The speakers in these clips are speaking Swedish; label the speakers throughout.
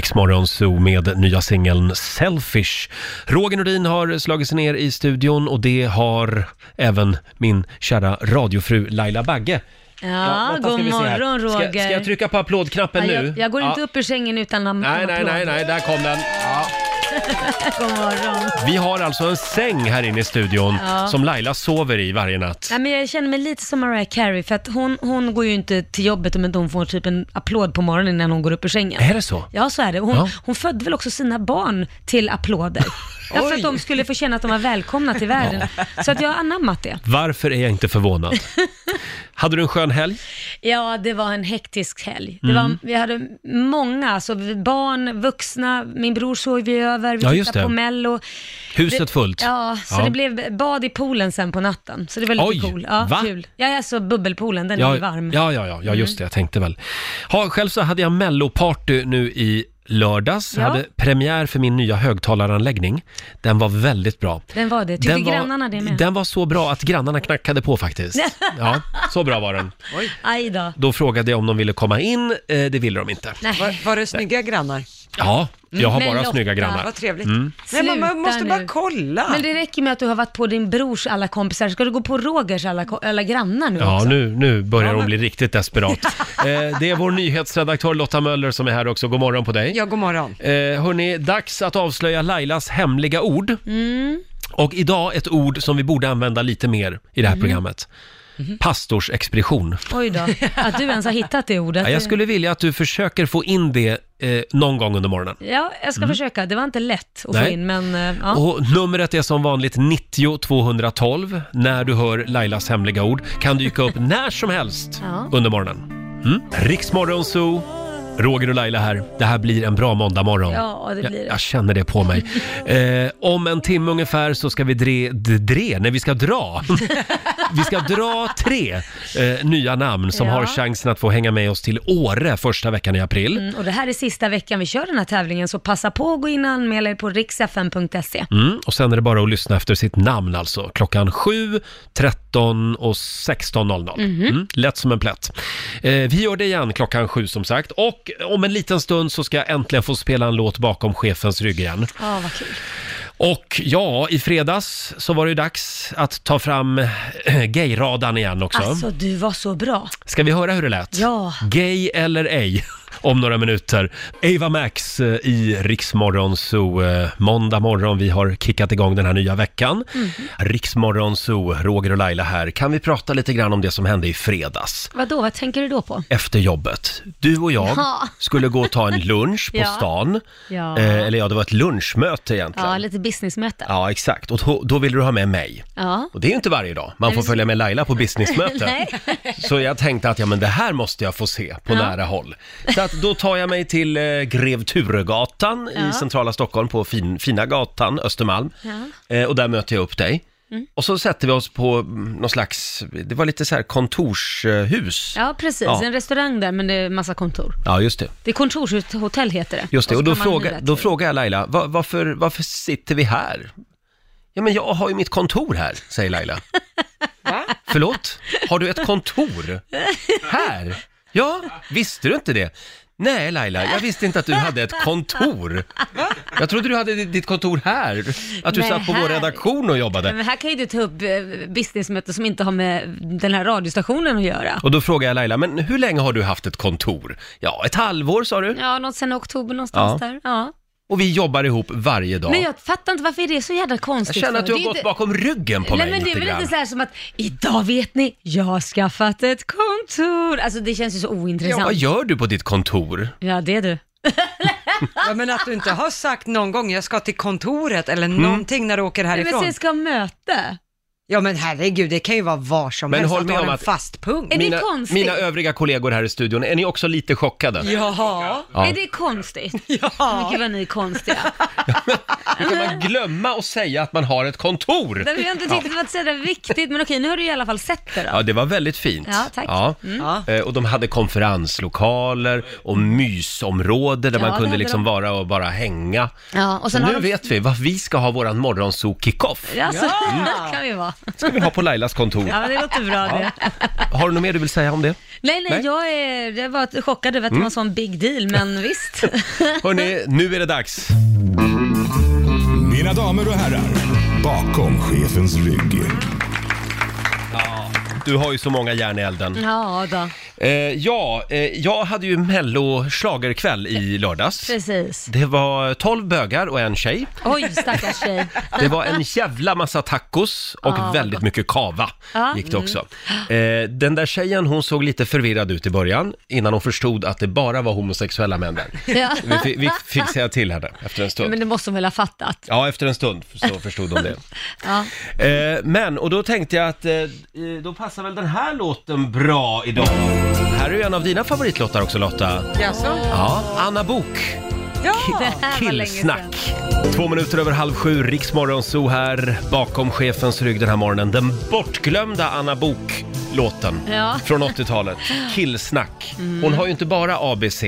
Speaker 1: Riksmorgon Zoo med nya singeln Selfish. Roger Nordin har slagit sig ner i studion och det har även min kära radiofru Laila Bagge.
Speaker 2: Ja,
Speaker 1: vänta, ska
Speaker 2: god
Speaker 1: vi se här.
Speaker 2: morgon
Speaker 1: ska,
Speaker 2: Roger.
Speaker 1: Ska jag trycka på applådknappen
Speaker 2: ja,
Speaker 1: nu?
Speaker 2: Jag, jag går inte
Speaker 1: Ja.
Speaker 2: upp ur sängen utan en
Speaker 1: Nej,
Speaker 2: en
Speaker 1: nej, nej, nej, där kom den. Ja.
Speaker 2: God morgon.
Speaker 1: Vi har alltså en säng här inne i studion
Speaker 2: Ja.
Speaker 1: som Laila sover i varje natt.
Speaker 2: Nej, men jag känner mig lite som Mariah Carey för att hon, hon går ju inte till jobbet om inte hon får typ en applåd på morgonen innan hon går upp ur sängen.
Speaker 1: Är det så?
Speaker 2: Ja, så är det. Hon,
Speaker 1: Ja.
Speaker 2: hon födde väl också sina barn till applåder. ja, för
Speaker 1: Oj.
Speaker 2: att de skulle få känna att de var välkomna till världen. Så att jag har anammat det.
Speaker 1: Varför är jag inte förvånad? Hade du en skön helg?
Speaker 2: Ja, det var en hektisk helg. Det
Speaker 1: Mm.
Speaker 2: var, vi hade många, alltså barn, vuxna, min bror sov vi över, vi
Speaker 1: Ja, just
Speaker 2: tittade
Speaker 1: det.
Speaker 2: på Mello.
Speaker 1: Huset fullt?
Speaker 2: Ja, så
Speaker 1: Ja.
Speaker 2: det blev bad i poolen sen på natten. Så det var lite
Speaker 1: Oj,
Speaker 2: cool. Ja,
Speaker 1: va?
Speaker 2: kul. Ja, alltså bubbelpoolen, den är ju varm. Mm.
Speaker 1: Ja, ja, ja, ja just det. Jag tänkte väl. Ha, själv så hade jag melloparty nu i lördags. Jag
Speaker 2: Ja.
Speaker 1: hade premiär för min nya högtalaranläggning. Den var väldigt bra.
Speaker 2: Den var det. Tyckte
Speaker 1: den var,
Speaker 2: grannarna det med?
Speaker 1: Den var så bra att grannarna knackade på faktiskt. Ja, så bra var den.
Speaker 2: Aj då.
Speaker 1: Då frågade jag om de ville komma in. Eh, det ville de inte.
Speaker 2: Nej.
Speaker 3: Var, var det snygga grannar?
Speaker 1: Ja, jag har
Speaker 2: Men
Speaker 1: bara
Speaker 2: Lotta,
Speaker 1: snygga grannar.
Speaker 3: Vad trevligt. Nej,
Speaker 2: Sluta
Speaker 3: men man måste
Speaker 2: nu.
Speaker 3: bara kolla.
Speaker 2: Men det räcker med att du har varit på din brors alla kompisar. Ska du gå på Rogers alla, ko- alla grannar nu
Speaker 1: Ja,
Speaker 2: också?
Speaker 1: nu, nu börjar
Speaker 3: Ja,
Speaker 1: de
Speaker 3: men-
Speaker 1: bli riktigt desperat. Eh, det är vår nyhetsredaktör Lotta Möller som är här också. God morgon på dig.
Speaker 3: Ja, god morgon.
Speaker 1: Eh, hörni, dags att avslöja Lailas hemliga ord. Och idag ett ord som vi borde använda lite mer i det här programmet. Pastorsexpedition.
Speaker 2: Oj då. Att du ens har hittat det ordet.
Speaker 1: Ja, jag skulle vilja att du försöker få in det eh, någon gång under morgonen.
Speaker 2: Ja, jag ska försöka. Det var inte lätt att
Speaker 1: Mm. Nej.
Speaker 2: få in, men eh, ja.
Speaker 1: Och numret är som vanligt 90 212 när du hör Lailas hemliga ord. Kan dyka upp när som helst
Speaker 2: Ja.
Speaker 1: under morgonen. Mm. Riksmorgon Zoo, Roger och Laila här. Det här blir en bra måndagmorgon.
Speaker 2: Ja, det blir
Speaker 1: jag,
Speaker 2: det.
Speaker 1: jag känner det på mig. Eh, om en timme ungefär så ska vi dre, d- dre nej vi ska dra. vi ska dra tre eh, nya namn som
Speaker 2: Ja.
Speaker 1: har chansen att få hänga med oss till Åre första veckan i april.
Speaker 2: Mm, och det här är sista veckan vi kör den här tävlingen, så passa på att gå in och anmäla er på riksfn.se.
Speaker 1: Mm, och sen är det bara att lyssna efter sitt namn alltså. Klockan 7, 13 och 16.00. Mm, lätt som en plätt. Eh, vi gör det igen klockan 7 som sagt. Och om en liten stund så ska jag äntligen få spela en låt bakom chefens rygg igen.
Speaker 2: Ja, vad kul.
Speaker 1: Och ja, i fredags så var det ju dags att ta fram eh, gayradan igen också.
Speaker 2: Alltså, du var så bra.
Speaker 1: Ska vi höra hur det lät?
Speaker 2: Ja.
Speaker 1: Gay eller ej? Om några minuter. Ava Max eh, i Riksmorgon Zoo. eh, Måndag morgon, vi har kickat igång den här nya veckan.
Speaker 2: Mhm.
Speaker 1: Riksmorgon Zoo, Roger och Laila här. Kan vi prata lite grann om det som hände i fredags?
Speaker 2: Vadå, vad tänker du då på?
Speaker 1: Efter jobbet. Du och jag
Speaker 2: Ja.
Speaker 1: skulle gå och ta en lunch på
Speaker 2: Ja.
Speaker 1: stan.
Speaker 2: Ja.
Speaker 1: Eh, eller ja, det var ett lunchmöte egentligen.
Speaker 2: Ja, lite businessmöte. Ja.
Speaker 1: Ja, exakt. Och då- då ville du ha med mig. Och det är ju inte varje dag man får följa med Laila på businessmöten.
Speaker 2: Nej.
Speaker 1: Så jag tänkte att ja, men det här måste jag få se på nära håll. Så att då tar jag mig till eh, Grev Turegatan i
Speaker 2: Ja.
Speaker 1: centrala Stockholm på fin, fina gatan, Östermalm.
Speaker 2: Ja. Mm.
Speaker 1: Eh, och där möter jag upp dig. Och så sätter vi oss på mm, någon slags, det var lite så här kontorshus.
Speaker 2: Ja, precis.
Speaker 1: Ja.
Speaker 2: En restaurang där, men det är massa kontor.
Speaker 1: Ja, just det.
Speaker 2: Det är kontorshotell heter det.
Speaker 1: Just det. Och
Speaker 2: så
Speaker 1: då,
Speaker 2: kan man
Speaker 1: fråga,
Speaker 2: hyra
Speaker 1: då
Speaker 2: till.
Speaker 1: frågar jag Laila, "Va- varför, varför sitter vi här? Ja, men jag har ju mitt kontor här, säger Laila.
Speaker 3: Va?
Speaker 1: Förlåt? Har du ett kontor? Här? Ja, visste du inte det? Nej Laila, jag visste inte att du hade ett kontor. Jag trodde du hade ditt kontor här. Att du
Speaker 2: Nej,
Speaker 1: satt på vår
Speaker 2: här.
Speaker 1: redaktion och jobbade.
Speaker 2: Men här kan ju du ta upp eh, businessmöten som inte har med den här radiostationen att göra.
Speaker 1: Och då frågade jag Laila, men hur länge har du haft ett kontor? Ja, ett halvår sa du.
Speaker 2: Ja, något sen oktober någonstans
Speaker 1: Ja.
Speaker 2: där. Ja.
Speaker 1: Och vi jobbar ihop varje dag.
Speaker 2: Men jag fattar inte varför är det är så jävla
Speaker 1: Jag
Speaker 2: konstigt.
Speaker 1: känner att
Speaker 2: för?
Speaker 1: du har
Speaker 2: Det är
Speaker 1: gått
Speaker 2: inte-
Speaker 1: bakom ryggen på
Speaker 2: Nej,
Speaker 1: mig
Speaker 2: men det är
Speaker 1: lite
Speaker 2: väl
Speaker 1: grann.
Speaker 2: inte så här som att idag vet ni, jag har skaffat ett kontor. Alltså det känns ju så
Speaker 1: Ja, vad
Speaker 2: ointressant.
Speaker 1: gör du på ditt kontor?
Speaker 2: Ja, det är du.
Speaker 3: Ja, men att du inte har sagt någon gång, jag ska till kontoret eller någonting när du åker
Speaker 2: Nej, men
Speaker 3: härifrån.
Speaker 2: sen ska jag ha möte.
Speaker 3: Ja, men herregud, det kan ju vara var som
Speaker 1: Men
Speaker 3: helst
Speaker 1: håll
Speaker 3: att
Speaker 1: med
Speaker 3: du har
Speaker 1: om
Speaker 3: en
Speaker 1: att-
Speaker 3: fast punkt.
Speaker 2: Är det
Speaker 1: Mina,
Speaker 2: konstigt?
Speaker 1: mina övriga kollegor här i studion, är ni också lite chockade?
Speaker 3: Ja.
Speaker 1: Ja.
Speaker 2: Är det konstigt?
Speaker 3: Ja.
Speaker 2: Gud vad ni är konstiga.
Speaker 1: Hur kan man glömma att säga att man har ett kontor?
Speaker 2: Därför jag inte tyckte det var så jävla viktigt, men okej, nu har du i alla fall sett det då.
Speaker 1: Ja, det var väldigt fint.
Speaker 2: Ja, tack. Mm.
Speaker 3: Ja.
Speaker 1: Eh, Och de hade konferenslokaler och mysområde där
Speaker 2: Ja,
Speaker 1: man
Speaker 2: det
Speaker 1: kunde
Speaker 2: hade
Speaker 1: liksom
Speaker 2: de.
Speaker 1: vara och bara hänga.
Speaker 2: Ja, och sen
Speaker 1: nu
Speaker 2: har de...
Speaker 1: vet vi vad vi ska ha våran morgonso-kickoff.
Speaker 2: Ja, så
Speaker 3: Ja.
Speaker 2: kan vi vara.
Speaker 1: ska vi ha på Lailas kontor.
Speaker 2: Ja, det låter bra det.
Speaker 1: Har du något mer du vill säga om det?
Speaker 2: Nej, nej,
Speaker 1: Nej. Mm.
Speaker 2: jag, är, jag var chockad över att det var en sån big deal, men visst.
Speaker 1: Hörni, nu är det dags.
Speaker 4: Mina damer och herrar, bakom chefens rygg.
Speaker 1: Du har ju så många järn i elden.
Speaker 2: Ja, då.
Speaker 1: Eh, ja, eh, jag hade ju mello schlagerkväll i lördags.
Speaker 2: Precis.
Speaker 1: Det var 12 bögar och en tjej.
Speaker 2: Oj, stackars tjej.
Speaker 1: Det var en jävla massa tacos och
Speaker 2: Ah, vad
Speaker 1: väldigt
Speaker 2: gott. Ah, mm.
Speaker 1: mycket kava
Speaker 2: Ja.
Speaker 1: gick det också. Eh, den där tjejen, hon såg lite förvirrad ut i början innan hon förstod att det bara var homosexuella män där.
Speaker 2: Ja.
Speaker 1: Vi, fi- vi fick säga till henne efter en
Speaker 2: Men
Speaker 1: stund.
Speaker 2: det måste hon väl ha fattat?
Speaker 1: Ja, efter en stund så förstod hon det.
Speaker 2: Ja.
Speaker 1: Eh, men, och då tänkte jag att eh, eh, då passar väl den här låten bra idag. Här är ju en av dina favoritlåtar också Lotta.
Speaker 3: Jaså?
Speaker 1: Ja, Anna Bok.
Speaker 3: Ja!
Speaker 2: Det här var länge sedan.
Speaker 1: Killsnack. Två minuter över halv sju, Riksmorgon så här, bakom chefens rygg den här morgonen. Den bortglömda Anna Bok låten
Speaker 2: Ja. Mm.
Speaker 1: från 80-talet. Killsnack. Hon har ju inte bara ABC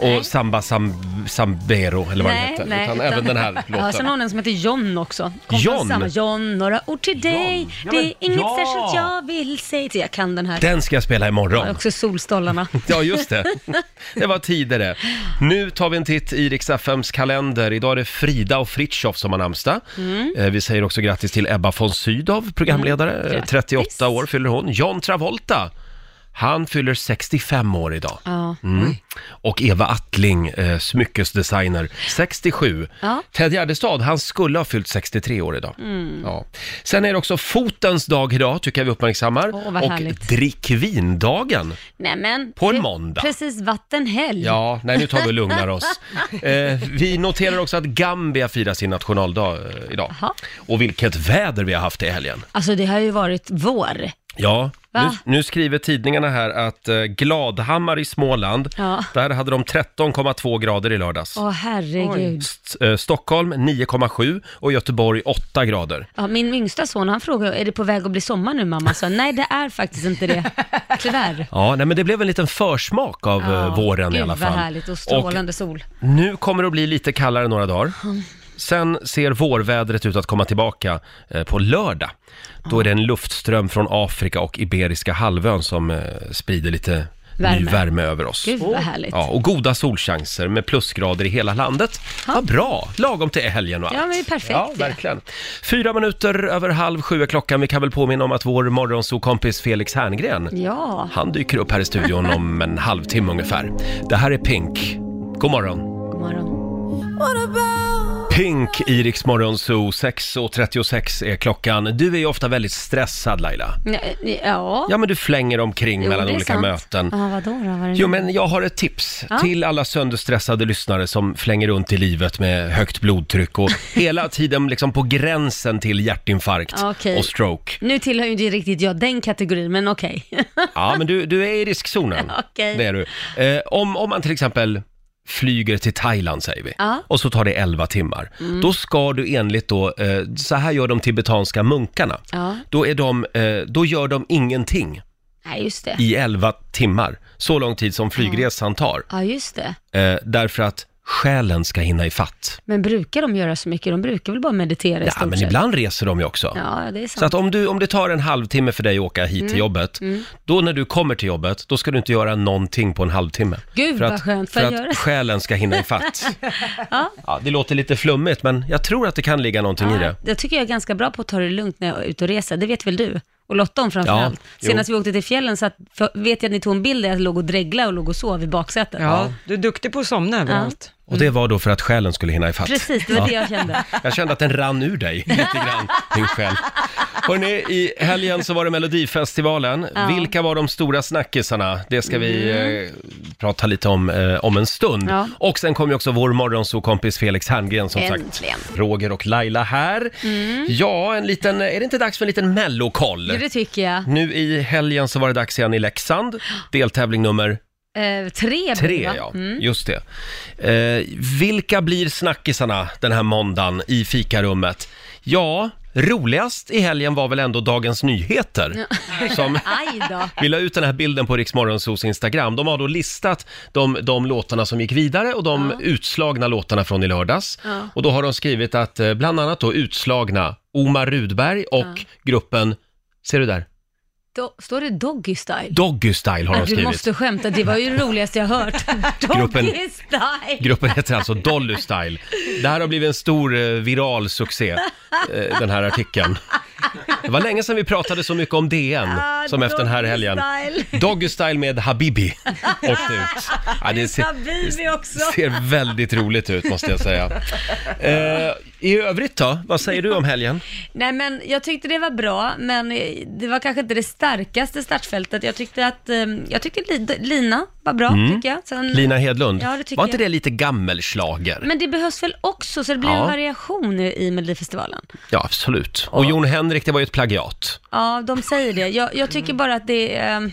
Speaker 1: och Samba Sam, Sambero eller vad den heter, utan, även den här
Speaker 2: Ja, sen
Speaker 1: låten.
Speaker 2: har hon en som heter John också. Kom
Speaker 1: John?
Speaker 2: Samma. John, några ord till dig.
Speaker 1: Ja,
Speaker 2: det
Speaker 1: men-
Speaker 2: är inget
Speaker 1: ja.
Speaker 2: särskilt jag vill säga till. Jag kan den här.
Speaker 1: Den Mm. ska jag spela
Speaker 2: Och
Speaker 1: imorgon.
Speaker 2: Också Solstollarna.
Speaker 1: Ja, just det. Det var tidigare. Nu tar vi en titt i Rix FMs kalender. Idag är det Frida och Fritjof som har namnsdag.
Speaker 2: Mm.
Speaker 1: Eh, Vi säger också grattis till Ebba von Sydow, programledare. Eh, 38 år fyller hon. John Travolta, han fyller 65 år idag.
Speaker 2: Ja.
Speaker 1: Mm. Och Eva Attling, eh, smyckesdesigner, 67.
Speaker 2: Ja. Mm.
Speaker 1: Ted Gärdestad, han skulle ha fyllt 63 år idag. Ja. Sen är det också fotens dag idag, tycker jag vi uppmärksammar.
Speaker 2: Åh, vad
Speaker 1: och
Speaker 2: härligt.
Speaker 1: drick vin-dagen.
Speaker 2: Nej, men,
Speaker 1: På en
Speaker 2: Pre-
Speaker 1: måndag.
Speaker 2: Precis, vattenhelg.
Speaker 1: Ja, nej nu tar vi och lugnar oss. Eh, vi noterar också att Gambia firar sin nationaldag eh, idag.
Speaker 2: Jaha.
Speaker 1: Och vilket väder vi har haft i helgen.
Speaker 2: Alltså det har ju varit vår.
Speaker 1: Ja, nu,
Speaker 2: Va?
Speaker 1: nu skriver tidningarna här att eh, Gladhammar i Småland,
Speaker 2: Ja.
Speaker 1: där hade de 13,2 grader i lördags.
Speaker 2: Åh herregud.
Speaker 1: St- eh, Stockholm 9,7 och Göteborg 8 grader.
Speaker 2: Ja, min yngsta son han frågade, är det på väg att bli sommar nu mamma? Så, Nej det är faktiskt inte det, tyvärr.
Speaker 1: Ja, nej, men det blev en liten försmak av eh,
Speaker 2: Ja,
Speaker 1: våren i
Speaker 2: gud,
Speaker 1: alla fall.
Speaker 2: vad härligt och strålande sol.
Speaker 1: Nu kommer det att bli lite kallare några dagar. Sen ser vårvädret ut att komma tillbaka eh, på lördag. Då är det en luftström från Afrika och Iberiska halvön som eh, sprider lite ny
Speaker 2: Värme.
Speaker 1: värme över oss.
Speaker 2: Gud vad härligt.
Speaker 1: Ja,
Speaker 2: Ja,
Speaker 1: och goda solchanser med plusgrader i hela landet. Vad bra! Lagom till helgen och allt.
Speaker 2: men det är perfekt.
Speaker 1: Ja,
Speaker 2: ju.
Speaker 1: verkligen. Fyra minuter över halv sju är klockan. Vi kan väl påminna om att vår morgonsokompis Felix Herngren,
Speaker 2: Ja,
Speaker 1: han dyker upp här i studion om en halvtimme ungefär. Det här är Pink. God morgon!
Speaker 2: god morgon.
Speaker 1: Pink i Rix Morgon Zoo, 6.36 är klockan. Du är ju ofta väldigt stressad Laila.
Speaker 2: Nej, Ja,
Speaker 1: Ja men du flänger omkring
Speaker 2: jo,
Speaker 1: mellan
Speaker 2: det är
Speaker 1: olika
Speaker 2: sant.
Speaker 1: möten.
Speaker 2: Ja, vadå då? Vad är det
Speaker 1: Jo
Speaker 2: nu?
Speaker 1: men jag har ett tips till alla sönderstressade lyssnare som flänger runt i livet med högt blodtryck och hela tiden liksom på gränsen till hjärtinfarkt
Speaker 2: Okej.
Speaker 1: och stroke.
Speaker 2: Nu tillhör ju inte riktigt jag den kategorin, men okej.
Speaker 1: Ja men du, du är i riskzonen.
Speaker 2: Okej.
Speaker 1: Det är du. Eh, om, om man till exempel flyger till Thailand säger vi
Speaker 2: Ja. Mm.
Speaker 1: och så tar det 11 timmar. Då ska du enligt då, eh, så här gör de tibetanska munkarna.
Speaker 2: ja.
Speaker 1: Då, är de, eh, då gör de ingenting
Speaker 2: Nej, just det.
Speaker 1: i 11 timmar, så lång tid som flygresan tar.
Speaker 2: Ja, just det.
Speaker 1: Eh, därför att själen ska hinna i fatt.
Speaker 2: Men brukar de göra så mycket? De brukar väl bara meditera i
Speaker 1: Ja,
Speaker 2: stort
Speaker 1: men
Speaker 2: sett?
Speaker 1: ibland reser de ju också.
Speaker 2: Ja, Mm. det är sant.
Speaker 1: Så att om, du, om det tar en halvtimme för dig att åka hit till jobbet, då när du kommer till jobbet, då ska du inte göra någonting på en halvtimme.
Speaker 2: Gud,
Speaker 1: för
Speaker 2: vad
Speaker 1: att,
Speaker 2: skönt. Får
Speaker 1: För
Speaker 2: jag göra
Speaker 1: att
Speaker 2: det?
Speaker 1: själen ska hinna i fatt. ja. det låter lite flummigt, men jag tror att det kan ligga någonting i det.
Speaker 2: Ja, jag tycker jag är ganska bra på att ta det lugnt när jag är ute och reser. Det vet väl du? Och Lotta om
Speaker 1: Ja,
Speaker 2: framförallt.
Speaker 1: jo.
Speaker 2: Senast vi åkte till fjällen så att, för, vet jag att ni tog en bild där jag låg och dreglade och låg och sov i baksätet.
Speaker 3: Ja, du är duktig på att somna överallt.
Speaker 1: Och det var då för att själen skulle hinna i fatt.
Speaker 2: Mm. Precis, det var det jag kände.
Speaker 1: Jag kände att den rann ur dig lite grann, din själ. Hörrni, i helgen så var det Melodifestivalen. Vilka var de stora snackisarna? Det ska vi eh, prata lite om eh, om en stund.
Speaker 2: Mm. Ja.
Speaker 1: Och sen kom ju också vår morgonsokompis Felix Herngren som
Speaker 2: Äntligen.
Speaker 1: sagt. Roger och Laila här. Ja, en liten, eh, är det inte dags för en liten mellokoll?
Speaker 2: Jo, det tycker jag.
Speaker 1: Nu i helgen så var det dags igen i Leksand. Deltävling nummer
Speaker 2: Eh, tre,
Speaker 1: Tre,
Speaker 2: va?
Speaker 1: ja.
Speaker 2: Mm.
Speaker 1: Just det. Eh, vilka blir snackisarna den här måndagen i fikarummet? Ja, roligast i helgen var väl ändå Dagens Nyheter som
Speaker 2: Aj då.
Speaker 1: vi la ut den här bilden på Riksmorgonsos Instagram. De har då listat de, de låtarna som gick vidare och de utslagna låtarna från i lördags.
Speaker 2: Ja.
Speaker 1: Och då har de skrivit att eh, bland annat då utslagna Omar Rudberg och gruppen, ser du där?
Speaker 2: Do, står det Doggy Style?
Speaker 1: Doggy Style har de
Speaker 2: du
Speaker 1: skrivit.
Speaker 2: måste skämta, det var ju det roligaste jag hört. Doggy
Speaker 1: Gruppen-
Speaker 2: Style!
Speaker 1: Gruppen heter alltså Dolly Style. Det här har blivit en stor eh, viral succé, eh, den här artikeln. Det var länge sedan vi pratade så mycket om DN
Speaker 2: Ah,
Speaker 1: som efter den här
Speaker 2: Doggy
Speaker 1: helgen.
Speaker 2: Style.
Speaker 1: Doggy Style med Habibi åkte ut. Ja, det ser,
Speaker 2: Habibi också.
Speaker 1: ser väldigt roligt ut måste jag säga. Eh, I övrigt då, vad säger du om helgen?
Speaker 2: Nej men jag tyckte det var bra, men eh, det var kanske inte det starkaste startfältet. Jag tyckte att, eh, jag tyckte Li- Lina var bra, tycker jag. Sen,
Speaker 1: Mm. Lina Hedlund,
Speaker 2: Ja, det tycker
Speaker 1: var inte
Speaker 2: jag.
Speaker 1: det lite gammelslager?
Speaker 2: Men det behövs väl också, så det blir
Speaker 1: Ja.
Speaker 2: en variation i i Melodifestivalen.
Speaker 1: Ja, absolut. Och Jon Henrik, det var ju ett plagiat.
Speaker 2: Ja, de säger det. Jag, jag tycker bara att det är... eh,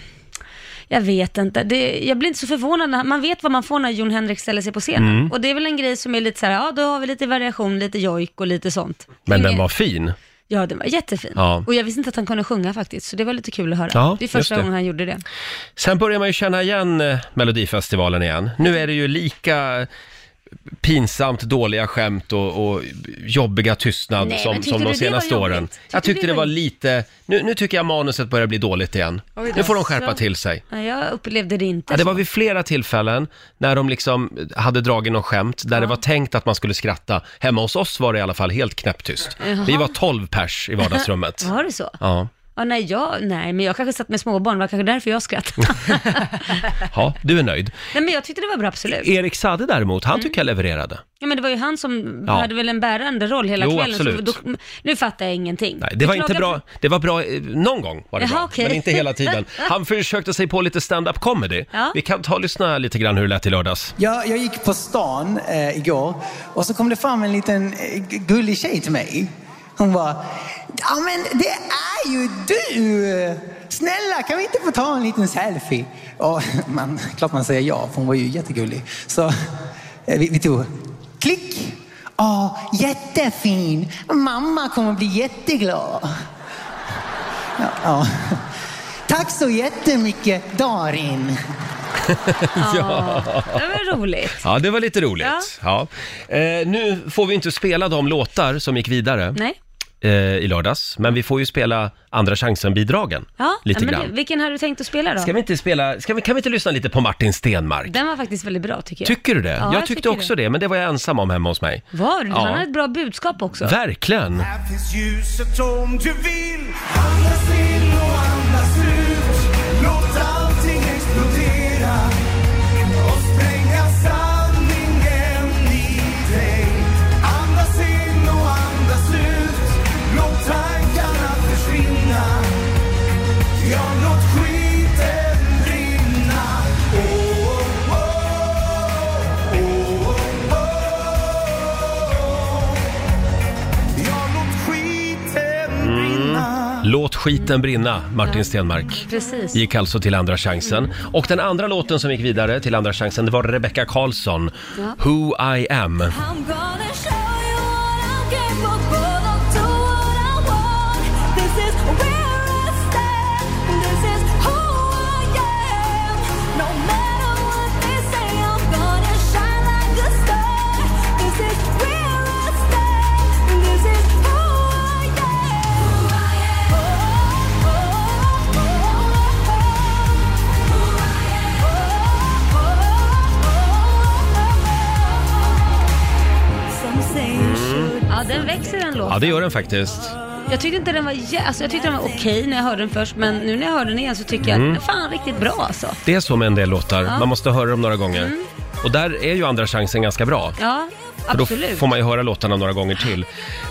Speaker 2: Jag vet inte. Det, jag blir inte så förvånad. När, man vet vad man får när Jon Henrik ställer sig på scenen.
Speaker 1: Mm.
Speaker 2: Och det är väl en grej som är lite så här, ja då har vi lite variation, lite jojk och lite sånt.
Speaker 1: Men den
Speaker 2: Ingen-
Speaker 1: var fin.
Speaker 2: Ja, den var jättefin.
Speaker 1: Ja.
Speaker 2: Och jag visste inte att han kunde sjunga faktiskt, så det var lite kul att höra.
Speaker 1: Ja,
Speaker 2: det är
Speaker 1: just det.
Speaker 2: första gången han gjorde det.
Speaker 1: Sen börjar man ju känna igen eh, Melodifestivalen igen. Nu är det ju lika pinsamt dåliga skämt och, och jobbiga tystnad
Speaker 2: Nej,
Speaker 1: som,
Speaker 2: men
Speaker 1: som
Speaker 2: tyckte
Speaker 1: de
Speaker 2: du det var
Speaker 1: senaste åren.
Speaker 2: jobbigt?
Speaker 1: Jag
Speaker 2: Tyckte du
Speaker 1: tyckte
Speaker 2: det
Speaker 1: det var
Speaker 2: var-
Speaker 1: lite... Nu, nu tycker jag manuset börjar bli dåligt igen.
Speaker 3: Oj då.
Speaker 1: Nu får de skärpa till sig.
Speaker 2: Ja, jag upplevde det inte.
Speaker 1: Ja, det
Speaker 2: så.
Speaker 1: var vid flera tillfällen när de liksom hade dragit något skämt där det var tänkt att man skulle skratta. Hemma hos oss var det i alla fall helt knäpptyst. Vi var 12 pers i vardagsrummet.
Speaker 2: Var det så? Ja.
Speaker 1: Ja.
Speaker 2: nej, jag, nej, men jag kanske satt med småbarn, det var kanske därför jag skrattade.
Speaker 1: ja, du är nöjd.
Speaker 2: nej, men jag tyckte det var bra, absolut.
Speaker 1: Erik Sade däremot,
Speaker 2: Mm.
Speaker 1: han tycker jag levererade.
Speaker 2: Ja, men det var ju han som
Speaker 1: Ja.
Speaker 2: hade väl en bärande roll hela
Speaker 1: Jo,
Speaker 2: kvällen.
Speaker 1: absolut.
Speaker 2: Så då, nu fattar jag ingenting.
Speaker 1: Nej, det var
Speaker 2: Jag
Speaker 1: inte
Speaker 2: klagar
Speaker 1: bra. Det var bra, eh, någon gång var det
Speaker 2: Jaha,
Speaker 1: bra,
Speaker 2: okej.
Speaker 1: men inte hela tiden. Han försökte sig på lite stand-up comedy.
Speaker 2: Ja.
Speaker 1: Vi kan ta och lyssna lite grann hur det lät i lördags.
Speaker 5: Jag, jag gick på stan eh, igår och så kom det fram en liten eh, gu- gullig tjej till mig. Hon bara, ja men det är ju du! Snälla kan vi inte få ta en liten selfie? Och man, klart man säger ja, för hon var ju jättegullig. Så eh, vi, vi tog, klick! Ja, jättefin! Mamma kommer bli jätteglad. Ja, ja. Tack så jättemycket, Darin.
Speaker 2: på- Det var roligt.
Speaker 1: Ja, det var lite roligt. Ja. Eh, nu får vi inte spela de låtar som gick vidare
Speaker 2: Nej.
Speaker 1: eh, i lördags, men vi får ju spela Andra chansen-bidragen
Speaker 2: Ja,
Speaker 1: lite
Speaker 2: men
Speaker 1: grann.
Speaker 2: det- vilken hade du tänkt att spela då?
Speaker 1: Ska vi inte spela, ska vi, kan vi inte lyssna lite på Martin Stenmark?
Speaker 2: Den var faktiskt väldigt bra tycker jag.
Speaker 1: Tycker du det?
Speaker 2: Ja,
Speaker 1: jag tyckte också det. men det var jag ensam om hemma hos mig.
Speaker 2: Var du?
Speaker 1: Ja.
Speaker 2: Han hade ett bra budskap också.
Speaker 1: Verkligen!
Speaker 6: Här finns ljuset om du vill Andas in och andas ut Låt allting explodera och spränga sanningen i dig Andas in och andas ut Låt tankarna försvinna Ja, låt skiten Oh, brinna Åh, åh, åh, åh, åh, åh. Ja, låt skiten brinna
Speaker 1: Låt skiten brinna, Martin Stenmark.
Speaker 2: Precis.
Speaker 1: Gick alltså till Andra chansen.
Speaker 2: Mm.
Speaker 1: Och den andra låten som gick vidare till Andra chansen, det var Rebecca Karlsson, Who I am.
Speaker 7: I'm gonna show you what I'm capable of. Do what I want. This is where I stand. This is who I am. No matter what they say, I'm gonna shine like a star. This is where I stand. This is who I am. Who I am. Oh, oh, oh, oh. Who I am. Oh, oh, oh, oh, oh. Some say you should
Speaker 2: Ja, den växer den låten.
Speaker 1: Ja, det gör den faktiskt.
Speaker 2: Jag tyckte inte den var, jä- alltså, jag tyckte den var okej när jag hörde den först, men nu när jag hör den igen så tycker
Speaker 1: Mm.
Speaker 2: jag att den är fan riktigt bra alltså.
Speaker 1: Det är så med en del låtar, man måste höra dem några gånger. Och där är ju Andra chansen ganska bra.
Speaker 2: Mm. Ja,
Speaker 1: För då
Speaker 2: absolut.
Speaker 1: får man ju höra låtarna några gånger till.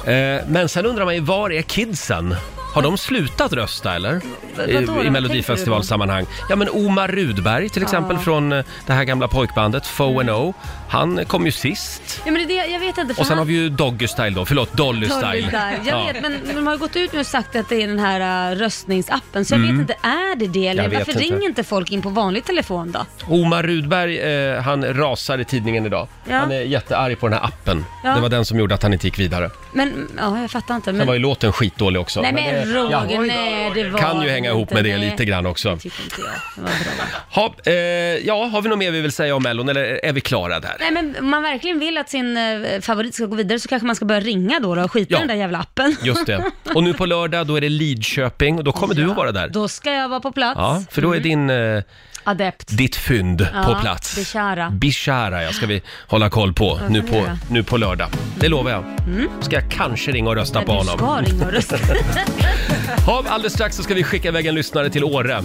Speaker 1: Eh, men sen undrar man ju, var är kidsen? Har de slutat rösta eller?
Speaker 2: vadå då? Vad
Speaker 1: I, i
Speaker 2: tänker
Speaker 1: Melodifestivalsammanhang. Ja men Omar Rudberg till exempel från eh, det här gamla pojkbandet Foe and
Speaker 2: Mm.
Speaker 1: O. Han kom ju sist.
Speaker 2: Ja, men det, är det- jag vet inte, för
Speaker 1: Och
Speaker 2: han-
Speaker 1: sen har vi ju Doggy Style då, förlåt Dolly Style.
Speaker 2: Dolly Style. Jag
Speaker 1: Ja.
Speaker 2: vet, men de har ju gått ut nu och sagt att det är den här äh, röstningsappen, så jag vet inte, är det det?
Speaker 1: Mm. Jag
Speaker 2: Eller
Speaker 1: vet
Speaker 2: varför
Speaker 1: inte.
Speaker 2: ringer inte folk in på vanlig telefon då?
Speaker 1: Omar Rudberg, eh, han rasar i tidningen idag.
Speaker 2: Ja.
Speaker 1: Han är jättearg på den här appen.
Speaker 2: Ja.
Speaker 1: Det var den som gjorde att han inte gick vidare.
Speaker 2: Men, ja, jag fattar inte.
Speaker 1: Sen
Speaker 2: Men,
Speaker 1: var ju låten skitdålig också.
Speaker 2: nej men
Speaker 1: det- Ja.
Speaker 2: Roger, nej det var
Speaker 1: Kan ju hänga ihop
Speaker 2: inte-
Speaker 1: med det
Speaker 2: nej,
Speaker 1: lite grann också.
Speaker 2: det tycker inte jag. Det var bra.
Speaker 1: Ha, eh, ja, har vi något mer vi vill säga om Mellon eller är vi klara där?
Speaker 2: Nej men om man verkligen vill att sin eh, favorit ska gå vidare så kanske man ska börja ringa då, då och skita i
Speaker 1: Ja.
Speaker 2: den där jävla appen.
Speaker 1: Just det. Och nu på lördag då är det Lidköping och då kommer du att vara där.
Speaker 2: Då Mm. ska jag vara på plats.
Speaker 1: Ja, för då är din, eh,
Speaker 2: Adept.
Speaker 1: ditt fynd
Speaker 2: Ja,
Speaker 1: på plats.
Speaker 2: Bishara.
Speaker 1: Bishara, ja, ska vi hålla koll på nu
Speaker 2: kan vi
Speaker 1: på,
Speaker 2: göra.
Speaker 1: nu på lördag. Det lovar jag. Ska jag kanske ringa och rösta på
Speaker 2: Men du
Speaker 1: honom.
Speaker 2: ska ringa och rösta.
Speaker 1: Ja, alldeles strax så ska vi skicka iväg en lyssnare till Åre.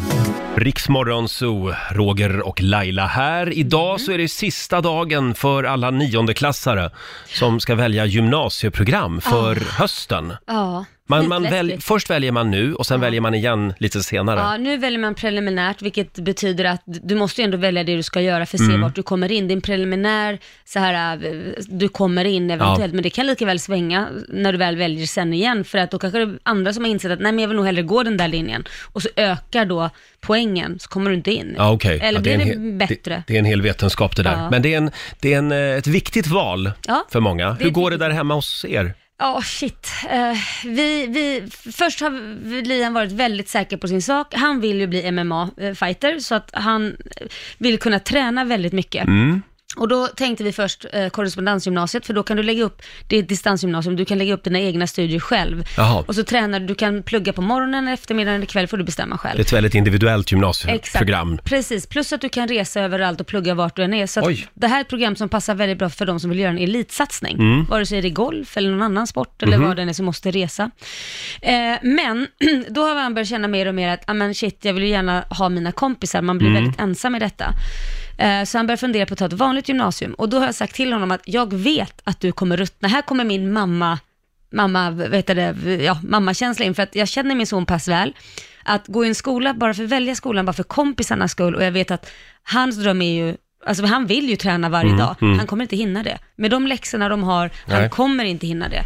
Speaker 1: Riksmorgon Zoo, Roger och Laila här.
Speaker 2: Mm.
Speaker 1: Idag så är det sista dagen för alla niondeklassare som ska välja gymnasieprogram för hösten.
Speaker 2: Ja,
Speaker 1: Man, man
Speaker 2: Ah. skitläskigt.
Speaker 1: väl, först väljer man nu och sen väljer man igen lite senare.
Speaker 2: Ja, nu väljer man preliminärt, vilket betyder att du måste ju ändå välja det du ska göra för att se
Speaker 1: Mm.
Speaker 2: vart du kommer in. Din preliminär, så här, eh, du kommer in eventuellt,
Speaker 1: Ja.
Speaker 2: men det kan lika väl svänga när du väl väljer sen igen, för att då kanske det är andra som har insett att nej, men jag vill nog hellre gå den där linjen, och så ökar då poängen, så kommer du inte in.
Speaker 1: Ja, okej.
Speaker 2: Eller
Speaker 1: ja,
Speaker 2: blir
Speaker 1: är en
Speaker 2: det,
Speaker 1: hel-
Speaker 2: bättre?
Speaker 1: Det, det är en hel vetenskap det där.
Speaker 2: Ja.
Speaker 1: Men det är, en, det är en, eh, ett viktigt val
Speaker 2: Ja,
Speaker 1: för många.
Speaker 2: det är
Speaker 1: Hur går det
Speaker 2: ett
Speaker 1: där hemma hos er?
Speaker 2: Ja, shit. Eh, vi, vi, först har vi- Liam varit väldigt säker på sin sak. Han vill ju bli MMA-fighter, så att han eh, vill kunna träna väldigt mycket. Och då tänkte vi först eh, korrespondensgymnasiet, för då kan du lägga upp, det är ett distansgymnasium, du kan lägga upp dina egna studier själv.
Speaker 1: Jaha.
Speaker 2: Och så tränar du, du kan plugga på morgonen, eftermiddagen eller kväll får du bestämma själv.
Speaker 1: Det är ett väldigt individuellt gymnasieprogram.
Speaker 2: Precis, plus att du kan resa överallt och plugga vart du än är. Så att
Speaker 1: Oj.
Speaker 2: det här är ett program som passar väldigt bra för de som vill göra en elitsatsning. Vare sig det är golf eller någon annan sport eller vad den är som måste resa. Eh, men då har man börjat känna mer och mer att, ah, men shit, jag vill ju gärna ha mina kompisar, man blir väldigt ensam i detta. Eh, Så han börjar fundera på att ta ett vanligt gymnasium och då har jag sagt till honom att jag vet att du kommer ruttna. Här kommer min mamma mamma, vet det, ja, mammakänsla in, för att jag känner min son pass väl. Att gå i en skola bara för att välja skolan, bara för kompisarnas skull, och jag vet att hans dröm är ju, alltså han vill ju träna varje dag, han kommer inte hinna det. Med de läxorna de har,
Speaker 1: Mm, Nej.
Speaker 2: han kommer inte hinna det.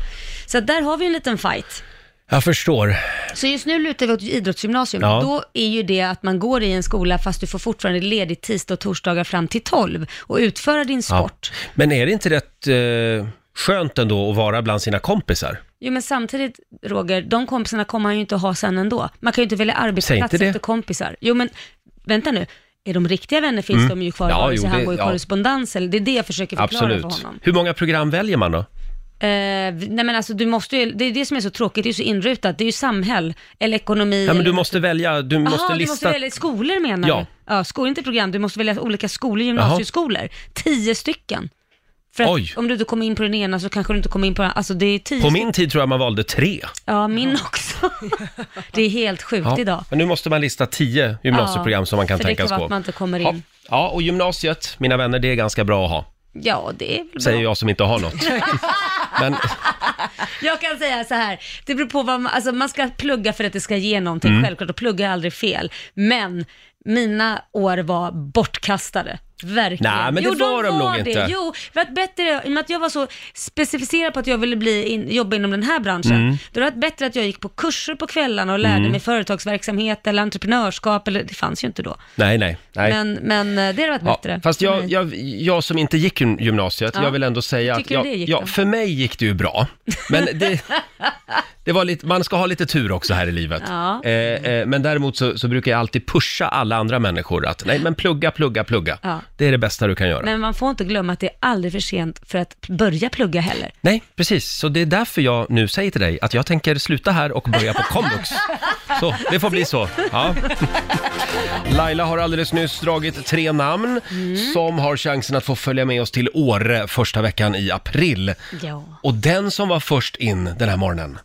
Speaker 2: Så att där har vi en liten fight.
Speaker 1: Jag förstår.
Speaker 2: Så just nu lutar vi åt idrottsgymnasium.
Speaker 1: Ja.
Speaker 2: Då är ju det att man går i en skola fast du får fortfarande ledigt tisdag och torsdagar fram till 12 och utföra din
Speaker 1: Ja.
Speaker 2: sport.
Speaker 1: Men är det inte rätt eh, skönt ändå att vara bland sina kompisar?
Speaker 2: Jo men samtidigt Roger, de kompisarna kommer han ju inte ha sen ändå. Man kan ju inte välja
Speaker 1: Säg
Speaker 2: arbetsplats
Speaker 1: inte det.
Speaker 2: efter kompisar. Jo men vänta nu, är de riktiga vänner finns de ju kvar
Speaker 1: Mm. Ja,
Speaker 2: vare
Speaker 1: jo,
Speaker 2: sig han
Speaker 1: det-
Speaker 2: går i
Speaker 1: ja.
Speaker 2: korrespondens eller det är det jag försöker förklara för
Speaker 1: Absolut.
Speaker 2: honom.
Speaker 1: Hur många program väljer man då?
Speaker 2: Eh, vi- nej men alltså du måste ju, det är det som är så tråkigt, det är ju så inrutat, det är ju samhäll eller ekonomi.
Speaker 1: Ja, men
Speaker 2: eller-
Speaker 1: du måste välja, du måste
Speaker 2: Jaha, du måste
Speaker 1: lista...
Speaker 2: välja skolor menar
Speaker 1: Ja.
Speaker 2: du? Ja, skolor, inte program, du måste välja olika skolor, gymnasieskolor. Tio stycken. För
Speaker 1: Oj.
Speaker 2: att om du inte kommer in på den ena så kanske du inte kommer in på den andra, alltså det är tio
Speaker 1: På min tid tror jag man valde tre.
Speaker 2: Ja, min också. det är helt sjukt idag.
Speaker 1: Men nu måste man lista tio gymnasieprogram
Speaker 2: Ja,
Speaker 1: som man kan
Speaker 2: för det
Speaker 1: tänkas
Speaker 2: kan
Speaker 1: på.
Speaker 2: vara att man inte kommer
Speaker 1: Ja.
Speaker 2: in.
Speaker 1: ja, och gymnasiet, mina vänner, det är ganska bra att ha.
Speaker 2: Ja, det är väl bra.
Speaker 1: Säger jag som inte har något. Men
Speaker 2: Jag kan säga så här, det beror på vad man, alltså man ska plugga för att det ska ge någonting,
Speaker 1: Mm.
Speaker 2: självklart, och plugga är aldrig fel. Men mina år var bortkastade. Verkligen.
Speaker 1: Nej, men det
Speaker 2: jo,
Speaker 1: var de nog inte.
Speaker 2: Jo, för att bättre, i och med att jag var så specificerad på att jag ville bli in, jobba inom den här branschen,
Speaker 1: Mm.
Speaker 2: då var det bättre att jag gick på kurser på kvällarna och lärde mig företagsverksamhet eller entreprenörskap, eller det fanns ju inte då.
Speaker 1: nej, nej. nej.
Speaker 2: Men, men eh, det hade varit
Speaker 1: Ja,
Speaker 2: bättre. Mm.
Speaker 1: fast
Speaker 2: för
Speaker 1: jag,
Speaker 2: mig.
Speaker 1: jag, jag som inte gick gym- gymnasiet,
Speaker 2: Ja.
Speaker 1: jag vill ändå säga
Speaker 2: Hur
Speaker 1: att
Speaker 2: tycker
Speaker 1: jag,
Speaker 2: du det gick
Speaker 1: ja,
Speaker 2: då?
Speaker 1: för mig gick det ju bra. Men det, det var lite, man ska ha lite tur också här i livet.
Speaker 2: Ja.
Speaker 1: Eh, eh, men däremot så, så brukar jag alltid pusha alla andra människor att nej men plugga, plugga, plugga.
Speaker 2: Ja.
Speaker 1: Det är det bästa du kan göra.
Speaker 2: Men man får inte glömma att det är aldrig för sent för att börja plugga heller.
Speaker 1: Nej, precis. Så det är därför jag nu säger till dig att jag tänker sluta här och börja på komvux. Så, det får bli så. Ja. Laila har alldeles nyss dragit tre namn som har chansen att få följa med oss till Åre första veckan i april.
Speaker 2: Ja.
Speaker 1: Och den som var först in den här morgonen,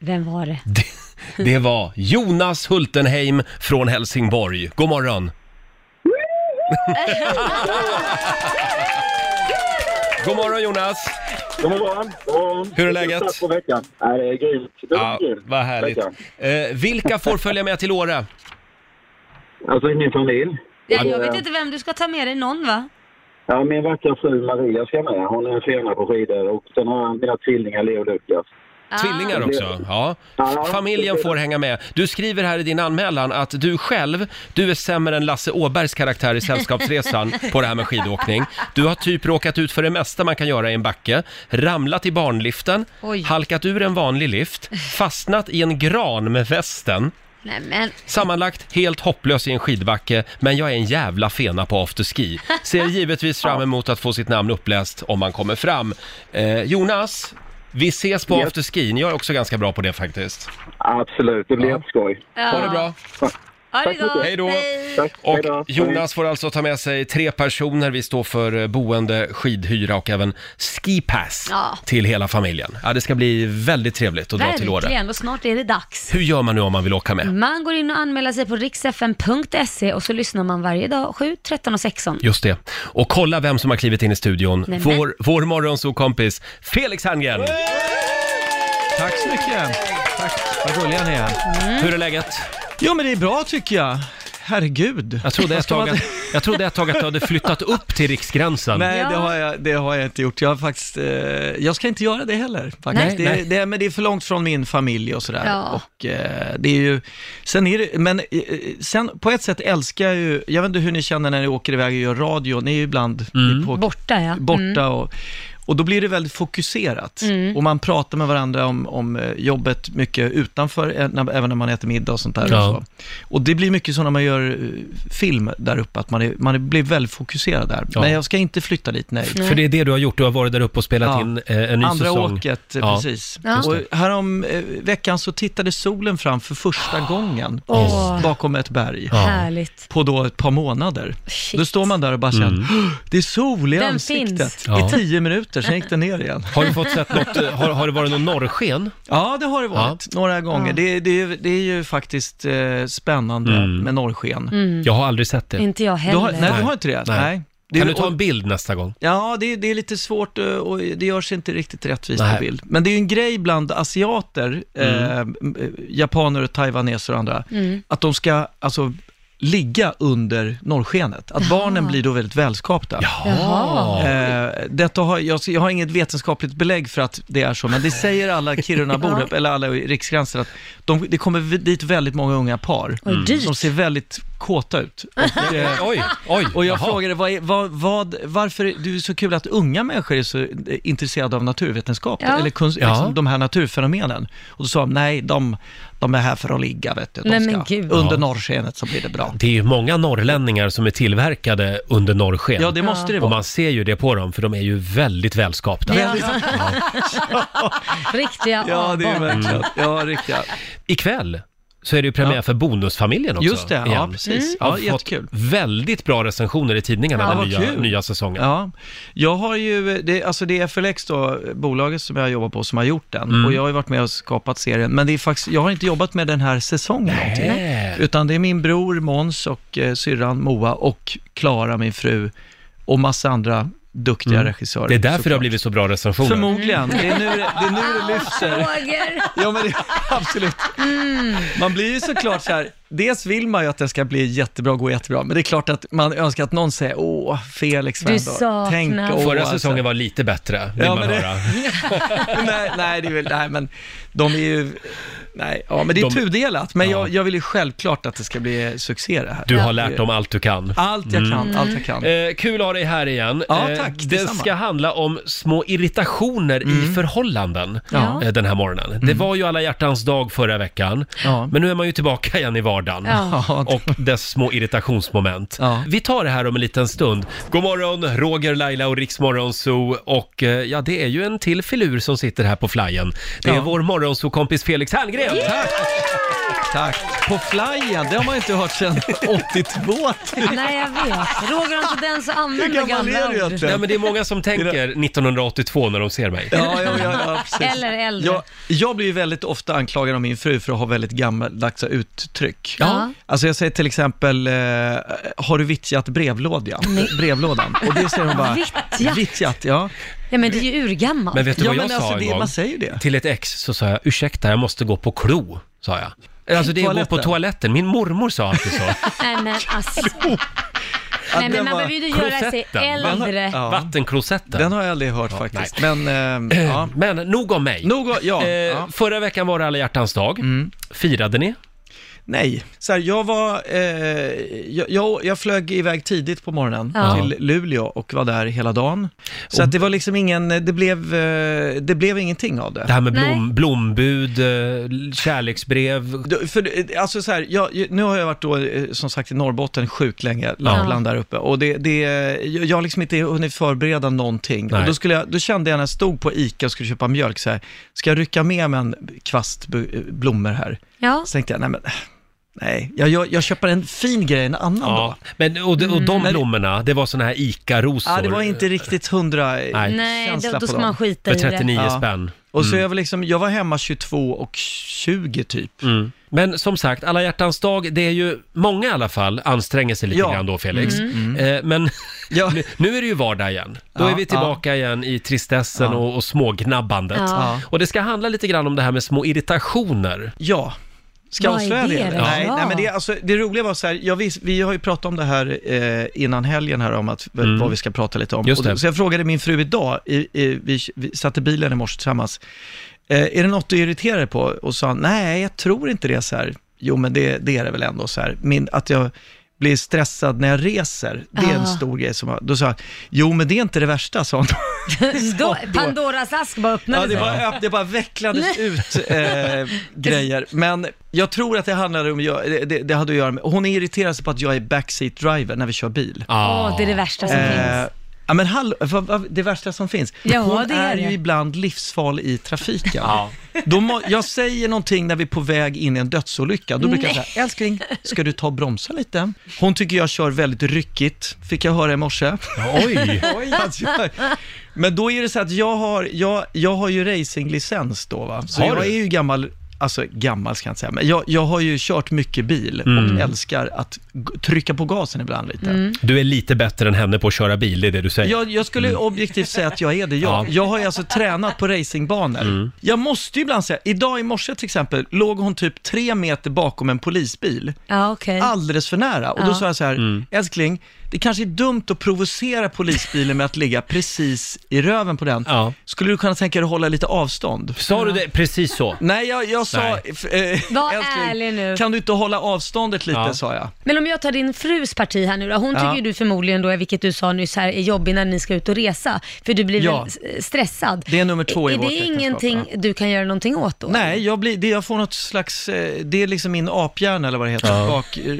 Speaker 2: Vem var det?
Speaker 1: det, det var Jonas Hultenheim från Helsingborg. God morgon! God morgon Jonas!
Speaker 8: God morgon. God morgon.
Speaker 1: Hur är läget?
Speaker 8: Tack för veckan. Nej, det är grymt. Det är
Speaker 1: Ja,
Speaker 8: grymt.
Speaker 1: vad härligt.
Speaker 8: Veckan.
Speaker 1: Eh, vilka får följa med till Åre?
Speaker 8: Alltså i min familj.
Speaker 2: Ja, jag vet inte vem du ska ta med dig, någon va?
Speaker 8: Ja, min vackra fru Maria ska med. Hon är en fena på skidor. Och sen har jag mina tvillingar Leo och Lukas.
Speaker 1: Tvillingar också. Ja.
Speaker 8: Ja.
Speaker 1: Familjen får hänga med. Du skriver här i din anmälan att du själv, du är sämre än Lasse Åbergs karaktär i Sällskapsresan på det här med skidåkning. Du har typ råkat ut för det mesta man kan göra i en backe. Ramlat i barnliften,
Speaker 2: Oj.
Speaker 1: halkat ur en vanlig lift, fastnat i en gran med västen.
Speaker 2: Nej men,
Speaker 1: Sammanlagt helt hopplös i en skidbacke, men jag är en jävla fena på afterski. Ser givetvis fram emot att få sitt namn uppläst om man kommer fram. Eh, Jonas, vi ses på
Speaker 8: Yes.
Speaker 1: afterskin. Jag är också ganska bra på det faktiskt.
Speaker 8: Absolut, det blir jätteskoj.
Speaker 2: ja.
Speaker 1: Ha det bra.
Speaker 2: Ha det
Speaker 8: Tack så mycket.
Speaker 2: gott.
Speaker 1: Hej då.
Speaker 8: Tack, hej då.
Speaker 1: Och Jonas får alltså ta med sig tre personer. Vi står för eh, boende, skidhyra och även skipass
Speaker 2: Ja.
Speaker 1: till hela familjen. Ja, det ska bli väldigt trevligt att dra till Åre.
Speaker 2: Verkligen, och snart är det dags.
Speaker 1: Hur gör man nu om man vill åka med?
Speaker 2: Man går in och anmäler sig på riksfn.se och så lyssnar man varje dag 7, 13 och 16.
Speaker 1: Just det. Och kolla vem som har klivit in i studion.
Speaker 2: Nämen.
Speaker 1: Vår, vår morgonsokompis Felix Herngren.
Speaker 9: Tack så mycket. Tack. Vad gulliga ni är.
Speaker 1: Mm. Hur är läget?
Speaker 9: Jo, men det är bra tycker jag. Herregud.
Speaker 1: Jag trodde,
Speaker 9: Vad
Speaker 1: ett
Speaker 9: ska
Speaker 1: tag
Speaker 9: man-
Speaker 1: att, jag trodde ett tag att du hade flyttat upp till Riksgränsen.
Speaker 9: Nej,
Speaker 2: Ja.
Speaker 9: det, har jag, det har jag inte gjort. Jag, har faktiskt, eh, jag ska inte göra det heller.
Speaker 2: Nej.
Speaker 9: Faktiskt. Det,
Speaker 1: Nej.
Speaker 9: Det, men det är för långt från min familj och sådär.
Speaker 2: Ja.
Speaker 9: Och, eh, det är ju, sen är det, men eh, sen på ett sätt älskar jag ju, jag vet inte hur ni känner när ni åker iväg och gör radio, ni är ju ibland
Speaker 1: Mm.
Speaker 9: ni är på,
Speaker 2: Borta Mm. ja.
Speaker 9: borta och, och då blir det väldigt fokuserat.
Speaker 2: Mm.
Speaker 9: Och man pratar med varandra om, om eh, jobbet mycket utanför, eh, när, även när man äter middag och sånt där.
Speaker 1: Ja.
Speaker 9: Och, så. och det blir mycket så när man gör eh, film där uppe, att man, är, man är- blir väldigt fokuserad där.
Speaker 1: Ja.
Speaker 9: Men jag ska inte flytta dit, nej.
Speaker 1: För det är det du har gjort. Du har varit där uppe och spelat
Speaker 9: Ja.
Speaker 1: in eh, en ny
Speaker 9: Andra
Speaker 1: säsong.
Speaker 9: åket, eh,
Speaker 1: Ja.
Speaker 9: precis.
Speaker 2: Mm. Ja. Just
Speaker 9: Och härom eh, veckan så tittade solen fram för första gången
Speaker 2: Åh.
Speaker 9: bakom ett berg.
Speaker 1: Ja.
Speaker 2: Härligt.
Speaker 9: På då ett par månader.
Speaker 2: Shit.
Speaker 9: Då står man där och bara
Speaker 1: Mm.
Speaker 9: känner, "Åh, det är sol i
Speaker 2: Den
Speaker 9: ansiktet
Speaker 2: finns.
Speaker 1: Ja.
Speaker 9: i tio minuter, sen gick den ner igen.
Speaker 1: Har du fått sett något, eh, har, har det varit någon norrsken?
Speaker 9: Ja, det har det varit några gånger. Det, det, är ju- det är ju faktiskt eh, spännande med norrsken.
Speaker 2: Mm.
Speaker 1: Jag har aldrig sett det.
Speaker 2: Inte jag
Speaker 9: Du
Speaker 2: heller.
Speaker 9: har, nej, du har inte det?
Speaker 1: Mm. Nej.
Speaker 9: Nej. Det är-
Speaker 1: kan du ta
Speaker 9: och-
Speaker 1: en bild nästa gång?
Speaker 9: Ja, det, är- det är lite svårt eh, och det görs inte riktigt rättvist
Speaker 1: Nej.
Speaker 9: på bild. Men det är ju en grej bland asiater, eh, japaner, och taiwaneser och andra, att de ska alltså ligga under norrskenet. Att barnen blir då väldigt välskapta.
Speaker 2: Jaha.
Speaker 9: Eh, detta har, jag, jag har inget vetenskapligt belägg för att det är så, men det säger alla Kirunabor, eller alla i Riksgränsen, att de, det kommer v- dit väldigt många unga par.
Speaker 2: Oj, dyrt.
Speaker 9: De ser väldigt kåta ut. Och, eh,
Speaker 1: Oj, oj.
Speaker 9: och jag
Speaker 1: jaha.
Speaker 9: frågade, vad, är- vad, vad, varför du är så kul att unga människor är så eh, intresserade av naturvetenskap,
Speaker 2: Ja.
Speaker 9: eller kunst,
Speaker 1: Ja.
Speaker 9: liksom, de här naturfenomenen? Och då sa de, nej, de, de är här för att ligga, vet du. De
Speaker 2: Nej,
Speaker 9: ska,
Speaker 2: men gud.
Speaker 9: Under
Speaker 1: Ja.
Speaker 9: norrskenet så blir det bra.
Speaker 1: Det är ju många norrlänningar som är tillverkade under norrsken.
Speaker 9: Ja, det måste det
Speaker 1: Och
Speaker 9: vara.
Speaker 1: man ser ju det på dem, för de är ju väldigt välskapta.
Speaker 9: Väldigt-
Speaker 2: Riktiga
Speaker 9: Ja, det är
Speaker 2: apor.
Speaker 9: verkligen. Ja, riktigt.
Speaker 1: Ikväll så är det ju premiär
Speaker 9: Ja.
Speaker 1: för Bonusfamiljen också.
Speaker 9: Just det, ja,
Speaker 1: igen. Mm.
Speaker 9: precis.
Speaker 1: Jag har
Speaker 9: Ja,
Speaker 1: fått
Speaker 9: jättekul.
Speaker 1: väldigt bra recensioner i tidningarna
Speaker 9: Ja,
Speaker 1: den
Speaker 9: vad
Speaker 1: nya,
Speaker 9: kul.
Speaker 1: nya säsongen.
Speaker 9: Ja, jag har ju, det, alltså det är FLX då, bolaget som jag jobbar på, som har gjort den. Och jag har ju varit med och skapat serien, men det är faktiskt, jag har inte jobbat med den här säsongen någonting.
Speaker 1: Nej.
Speaker 9: Utan det är min bror Måns och eh, syrran Moa och Klara, min fru, och massa andra duktiga regissörer.
Speaker 1: Det är därför det har
Speaker 9: såklart.
Speaker 1: blivit så bra recensioner.
Speaker 9: Förmodligen, det är nu det, det, är nu det lyfter.
Speaker 2: Roger.
Speaker 9: Ja, men det, absolut. Man blir ju såklart så här, dels vill man ju att den ska bli jättebra, gå jättebra, men det är klart att man önskar att någon säger, åh, liksom." Felix var
Speaker 2: Du
Speaker 9: ändå-
Speaker 2: saknas."
Speaker 9: åh,
Speaker 1: Förra
Speaker 9: alltså."
Speaker 1: säsongen var lite bättre, vill
Speaker 9: Ja,
Speaker 1: man
Speaker 9: men det-
Speaker 1: höra.
Speaker 9: nej, nej, det är väl, nej, men de är ju, nej, ja, men det är
Speaker 1: De-
Speaker 9: tudelat, men
Speaker 1: Ja.
Speaker 9: jag, jag vill ju självklart att det ska bli succé det här. Mm.
Speaker 1: Du har lärt dem allt du kan.
Speaker 9: Allt jag kan, allt jag kan.
Speaker 1: Eh, kul att ha dig här igen. Eh,
Speaker 9: Ja, tack,
Speaker 1: det
Speaker 9: detsamma. Mm.
Speaker 1: ska handla om små irritationer i förhållanden
Speaker 2: Ja.
Speaker 1: eh, den här morgonen. Det var ju alla hjärtans dag förra veckan,
Speaker 9: Ja.
Speaker 1: men nu är man ju tillbaka igen i vardagen.
Speaker 2: Ja.
Speaker 9: Ja, det-
Speaker 1: Och dess små irritationsmoment.
Speaker 9: Ja.
Speaker 1: Vi tar det här om en liten stund. God morgon, Roger, Laila och Riksmorgon Zoo. Och eh, ja, det är ju en till filur som sitter här på flyen. Det är
Speaker 9: Ja.
Speaker 1: vår morgonzoo-kompis Felix Herngren.
Speaker 9: Tack! Tack! På flyen, det har man inte hört sedan 82.
Speaker 2: Nej, jag vet. Roger har en tendens att använda gamla ord.
Speaker 1: Nej, men det är många som tänker 1982 när de ser mig.
Speaker 9: Ja, ja, ja, ja precis.
Speaker 2: Eller äldre.
Speaker 9: Jag, jag blir ju väldigt ofta anklagad av min fru för att ha väldigt gammaldags uttryck.
Speaker 2: Ja.
Speaker 9: Alltså jag säger till exempel, eh, har du vittjat brevlådan? brevlådan? Och det säger hon bara,
Speaker 2: Vittjat?
Speaker 9: vittjat ja.
Speaker 2: Ja, men det är ju urgammalt.
Speaker 1: Men vet du
Speaker 9: ja
Speaker 1: vad jag
Speaker 9: men
Speaker 1: sa
Speaker 9: alltså
Speaker 1: en
Speaker 9: det,
Speaker 1: gång?
Speaker 9: man säger ju det.
Speaker 1: Till ett ex så sa jag, ursäkta jag måste gå på klo, sa jag. Alltså det är att gå på
Speaker 9: Toaletten.
Speaker 1: toaletten, min mormor sa alltid så.
Speaker 2: Nej, men alltså.
Speaker 9: Att
Speaker 2: Nej,
Speaker 9: den
Speaker 2: men man
Speaker 9: var-
Speaker 2: behöver ju inte göra sig
Speaker 1: Klosetten.
Speaker 2: äldre.
Speaker 9: Ja.
Speaker 1: Vattenklosetten.
Speaker 9: Den har jag aldrig hört faktiskt. Men, eh, ja.
Speaker 1: Men nog om mig.
Speaker 9: Nog om- ja,
Speaker 1: eh,
Speaker 9: ja. Mm.
Speaker 1: Förra veckan var det alla hjärtans dag. Firade ni?
Speaker 9: Nej, så här, jag var, eh, jag, jag, jag flög iväg tidigt på morgonen
Speaker 2: Ja.
Speaker 9: till Luleå och var där hela dagen. Så att det var liksom ingen, det blev, eh, det blev ingenting av
Speaker 1: Det
Speaker 9: det.
Speaker 1: här med
Speaker 2: Nej.
Speaker 1: blom, blombud, eh, kärleksbrev.
Speaker 9: Du, För, eh, alltså så här, jag, nu har jag varit då, eh, som sagt, i Norrbotten sjukt länge, Lappland där uppe. Och det, det, jag jag har liksom inte hunnit förbereda någonting.
Speaker 1: Nej.
Speaker 9: Och då, skulle jag, då kände jag när jag stod på ICA och skulle köpa mjölk, så här, ska jag rycka med mig en kvast bu- eh, blommor här?
Speaker 2: Ja.
Speaker 9: Så tänkte jag, nej men, nej, jag, jag, jag köper en fin grej en annan dag. Mm.
Speaker 1: Ja. Men, och, de- och de blommorna, det var såna här ICA-rosor.
Speaker 9: Ja, det var inte riktigt hundra
Speaker 1: Nej. Mm.
Speaker 2: Nej,
Speaker 9: känsla
Speaker 2: då, då
Speaker 9: på
Speaker 2: ska
Speaker 9: dem.
Speaker 2: man skita
Speaker 1: För
Speaker 2: i det.
Speaker 1: 39
Speaker 9: Ja.
Speaker 1: spänn.
Speaker 9: Och så jag var liksom, jag var hemma 22 och 20 typ.
Speaker 1: Mm. Men som sagt, alla hjärtans dag, det är ju många i alla fall anstränger sig lite
Speaker 9: Ja. Mm.
Speaker 1: grann då Felix. Eh, men
Speaker 9: Ja.
Speaker 1: nu, nu är det ju vardag igen. Då
Speaker 9: Ja,
Speaker 1: är vi tillbaka igen i tristessen
Speaker 9: Ja.
Speaker 1: och, och smågnabbandet.
Speaker 2: Ja.
Speaker 1: Och det ska handla lite grann om det här med små irritationer.
Speaker 9: Ja. Ska jag
Speaker 2: Vad är
Speaker 9: avslöja
Speaker 2: det
Speaker 9: det?
Speaker 2: då?
Speaker 9: Nej,
Speaker 2: Ja.
Speaker 9: nej, men det, är alltså, det roliga var så här, jag vis, vi har ju pratat om det här eh, innan helgen här om att, vad vi ska prata lite om.
Speaker 1: Mm. Just det.
Speaker 9: Och, så jag frågade min fru idag, i, i, vi, vi satt i bilen i morse tillsammans, eh, är det något du irriterar dig på? Och sa nej, jag tror inte det så här. Jo, men det, det är det väl ändå så här. Min, att jag blir stressad när jag reser, det är en
Speaker 2: Ah.
Speaker 9: stor grej. Som, jag- då sa jag, jo men det är inte det värsta, sa hon.
Speaker 2: Då, Pandoras ask bara
Speaker 9: Ja,
Speaker 2: öppnades.
Speaker 9: det bara, öpp- det bara vecklades ut eh, grejer. Men jag tror att det handlade om, jag- det, det- det hade att göra med, hon är irriterad sig på att jag är backseat driver när vi kör bil.
Speaker 2: Åh, det är det värsta som
Speaker 9: Eh,
Speaker 2: finns.
Speaker 9: Ja men hallå, vad- vad- det värsta som finns.
Speaker 2: Ja,
Speaker 9: Hon
Speaker 2: det är
Speaker 9: är
Speaker 2: det.
Speaker 9: ju ibland livsfarlig i trafiken. Då må, jag säger någonting när vi är på väg in i en dödsolycka. Då brukar jag säga, älskling, ska du ta och bromsa lite? Hon tycker jag kör väldigt ryckigt, fick jag höra i morse.
Speaker 1: Oj!
Speaker 9: Att jag- Men då är det så att jag har, jag, jag har ju racinglicens då va. Så
Speaker 1: Har
Speaker 9: jag
Speaker 1: du?
Speaker 9: är ju gammal, alltså gammal ska jag inte säga, men jag, jag har ju kört mycket bil
Speaker 1: Mm.
Speaker 9: och älskar att g- trycka på gasen ibland lite.
Speaker 1: Du är lite bättre än henne på att köra bil, det är det du säger.
Speaker 9: Jag, jag skulle objektivt säga att jag är det, jag.
Speaker 1: Mm. Ja. Mm.
Speaker 9: Jag har ju alltså tränat på racingbanor. Jag måste ju ibland säga, idag i morse till exempel, låg hon typ tre meter bakom en polisbil
Speaker 2: Ja, okej.
Speaker 9: alldeles för nära. Och då
Speaker 2: Mm. Ja.
Speaker 9: sa jag så här,
Speaker 1: Mm.
Speaker 9: älskling, det kanske är dumt att provocera polisbilen med att ligga precis i röven på den.
Speaker 1: Ja.
Speaker 9: Skulle du kunna tänka dig att hålla lite avstånd?
Speaker 1: Sa du det precis så?
Speaker 9: Nej, jag, jag sa,
Speaker 1: Nej.
Speaker 9: f- eh,
Speaker 2: Var ärlig nu.
Speaker 9: kan du inte hålla avståndet lite,
Speaker 1: Ja.
Speaker 9: sa jag.
Speaker 2: Men om jag tar din frus parti här nu då. Hon tycker ju du förmodligen då, vilket du sa nyss här, är jobbig när ni ska ut och resa. För du blir
Speaker 9: Ja.
Speaker 2: väl s- stressad.
Speaker 9: Det är nummer två i
Speaker 2: Är
Speaker 9: vårt
Speaker 2: det
Speaker 9: äktenskap,
Speaker 2: ingenting du kan göra någonting åt då?
Speaker 9: Nej, jag, blir, det, jag får något slags, eh, det är liksom min aphjärna eller vad det heter. Bak, eh,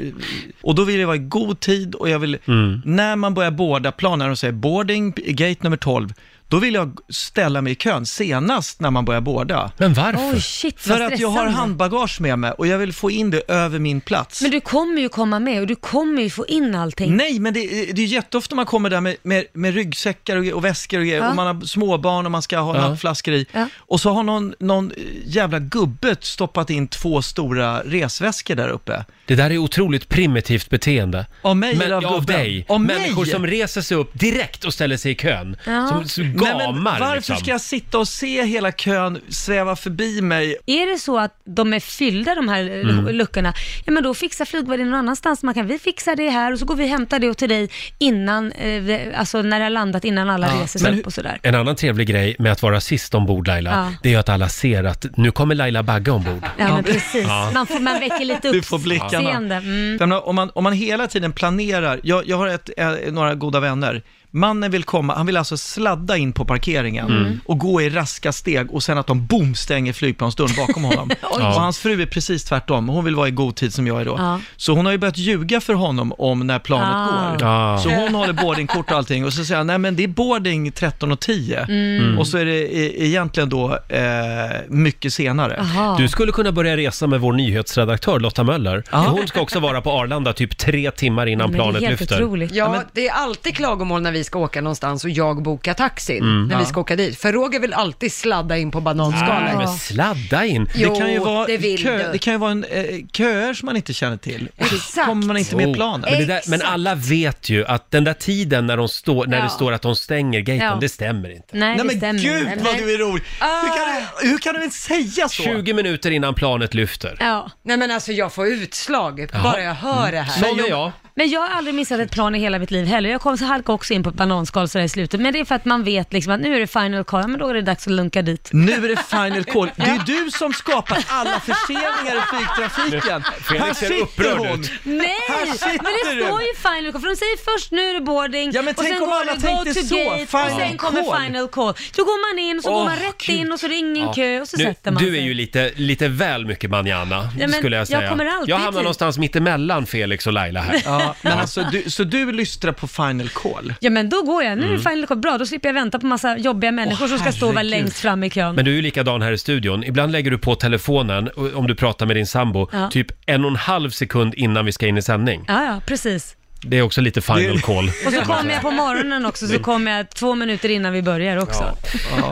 Speaker 9: och då vill jag vara i god tid och jag vill, när man börjar boarda planen, när de säger boarding, gate nummer 12, då vill jag ställa mig i kön senast när man börjar boarda.
Speaker 1: Men varför?
Speaker 2: Oj, shit vad
Speaker 9: För att jag har
Speaker 2: stressande.
Speaker 9: handbagage med mig och jag vill få in det över min plats.
Speaker 2: Men du kommer ju komma med och du kommer ju få in allting.
Speaker 9: Nej, men det, det är jätteofta man kommer där med, med, med ryggsäckar och, och väskor och, grejer
Speaker 2: Ja.
Speaker 9: och man har småbarn och man ska ha nappflaskor i.
Speaker 2: Ja.
Speaker 9: Och så har någon, någon jävla gubbe stoppat in två stora resväskor där uppe.
Speaker 1: Det där är otroligt primitivt beteende.
Speaker 9: Av mig eller av
Speaker 1: ja, av
Speaker 9: gubben?
Speaker 1: dig.
Speaker 9: Av mig?
Speaker 1: Människor som reser sig upp direkt och ställer sig i kön.
Speaker 2: Ja.
Speaker 1: Som, som
Speaker 9: Nej,
Speaker 1: gamar
Speaker 9: men varför
Speaker 1: liksom.
Speaker 9: ska jag sitta och se hela kön sväva förbi mig?
Speaker 2: Är det så att de är fyllda de här eh,
Speaker 9: Mm.
Speaker 2: luckorna, ja men då fixar flygvärdinnan någon annanstans. Man kan, vi fixar det här och så går vi och hämtar det och till dig innan, eh, vi- alltså när det har landat, innan alla reser sig upp och sådär.
Speaker 1: liksom. En annan trevlig grej med att vara sist ombord Laila,
Speaker 2: Ja.
Speaker 1: det är ju att alla ser att nu kommer Laila Bagge ombord.
Speaker 2: Ja, men precis. Man, får, man väcker lite
Speaker 9: Du får blickarna.
Speaker 2: uppseende. Mm.
Speaker 9: Jag menar, Om man, om man hela tiden planerar, jag, jag har ett, eh, några goda vänner, mannen vill komma, han vill alltså sladda in på parkeringen
Speaker 2: Mm.
Speaker 9: och gå i raska steg och sen att de boom stänger flygplansdörren bakom honom. Och hans fru är precis tvärtom, hon vill vara i god tid som jag är då.
Speaker 2: Ja.
Speaker 9: Så hon har ju börjat ljuga för honom om när planet
Speaker 2: Ah.
Speaker 9: går.
Speaker 1: Ah.
Speaker 9: Så hon håller boardingkort och allting och så säger han, nej men det är boarding 13 och 10
Speaker 2: Mm.
Speaker 9: och så är det e- egentligen då eh, mycket senare.
Speaker 2: Jaha.
Speaker 1: Du skulle kunna börja resa med vår nyhetsredaktör Lotta Möller. Hon ska också vara på Arlanda typ tre timmar innan
Speaker 2: Men det är
Speaker 1: planet
Speaker 2: helt
Speaker 1: lyfter.
Speaker 2: otroligt.
Speaker 3: Ja, det är alltid klagomål när vi ska åka någonstans och jag bokar taxin när vi ska åka dit. För Roger vill alltid sladda in på bananskalet.
Speaker 1: Nej, men sladda in.
Speaker 3: Jo,
Speaker 9: det kan ju vara,
Speaker 3: det vill
Speaker 9: kö,
Speaker 3: du.
Speaker 9: det kan ju vara en, eh, köer som man inte känner till. Och så
Speaker 3: Exakt.
Speaker 9: kommer man inte med i planen.
Speaker 1: Oh. Men, det där, men alla vet ju att den där tiden när, de står, när
Speaker 2: Ja.
Speaker 1: det står att de stänger gaten,
Speaker 2: Ja.
Speaker 1: det stämmer inte.
Speaker 2: Nej,
Speaker 9: Nej
Speaker 2: det
Speaker 9: men
Speaker 2: stämmer.
Speaker 9: gud vad du är rolig! Hur, kan, du-
Speaker 3: Eh.
Speaker 9: hur kan du ens säga så?
Speaker 1: 20 minuter innan planet lyfter.
Speaker 2: Ja.
Speaker 10: Mm.
Speaker 3: Nej men alltså jag får utslag bara jag hör det här.
Speaker 1: Sån är jag.
Speaker 2: Men jag har aldrig missat ett plan i hela mitt liv heller. Jag kom så halkade också in på ett bananskal sådär i slutet. Men det är för att man vet liksom att nu är det final call, ja, men då är det dags att lunka dit.
Speaker 9: Nu är det final call. Det är du som skapar alla förseningar i flygtrafiken.
Speaker 1: Felix
Speaker 9: Här
Speaker 1: ser
Speaker 9: sitter
Speaker 1: upprörd
Speaker 9: hon.
Speaker 1: ut.
Speaker 2: Nej,
Speaker 9: Här
Speaker 2: men
Speaker 9: sitter
Speaker 2: det
Speaker 9: du.
Speaker 2: står ju final call, för de säger först nu är det boarding
Speaker 9: Ja, men
Speaker 2: och
Speaker 9: tänk
Speaker 2: sen
Speaker 9: om
Speaker 2: går
Speaker 9: alla
Speaker 2: det go
Speaker 9: tänkte
Speaker 2: to
Speaker 9: så,
Speaker 2: gate och
Speaker 9: final
Speaker 2: sen kommer
Speaker 9: call.
Speaker 2: final call. Då går man in, så går
Speaker 1: Åh,
Speaker 2: man rätt
Speaker 1: Gud.
Speaker 2: in och så är det ingen
Speaker 1: Ja.
Speaker 2: kö och så
Speaker 1: nu,
Speaker 2: sätter man
Speaker 1: Du
Speaker 2: sig.
Speaker 1: är ju lite, lite väl mycket manana,
Speaker 2: Ja, men
Speaker 1: skulle jag
Speaker 2: jag
Speaker 1: säga.
Speaker 2: kommer alltid
Speaker 1: jag hamnar
Speaker 2: dit.
Speaker 1: någonstans mittemellan Felix och Laila här.
Speaker 9: Ja, men alltså, du, så du lystrar på final call?
Speaker 2: Ja men då går jag, nu är det final call, bra då slipper jag vänta på massa jobbiga människor som ska stå och vara
Speaker 9: Mm. herregud.
Speaker 2: längst fram i kön.
Speaker 1: Men du är ju likadan här i studion. Ibland lägger du på telefonen, o- om du pratar med din sambo,
Speaker 2: Ja.
Speaker 1: typ en och en halv sekund innan vi ska in i sändning.
Speaker 2: Ja, ja, precis.
Speaker 1: Det är också lite final
Speaker 9: Det-
Speaker 1: call.
Speaker 2: Och så kommer jag på morgonen också, så kommer jag två minuter innan vi börjar också.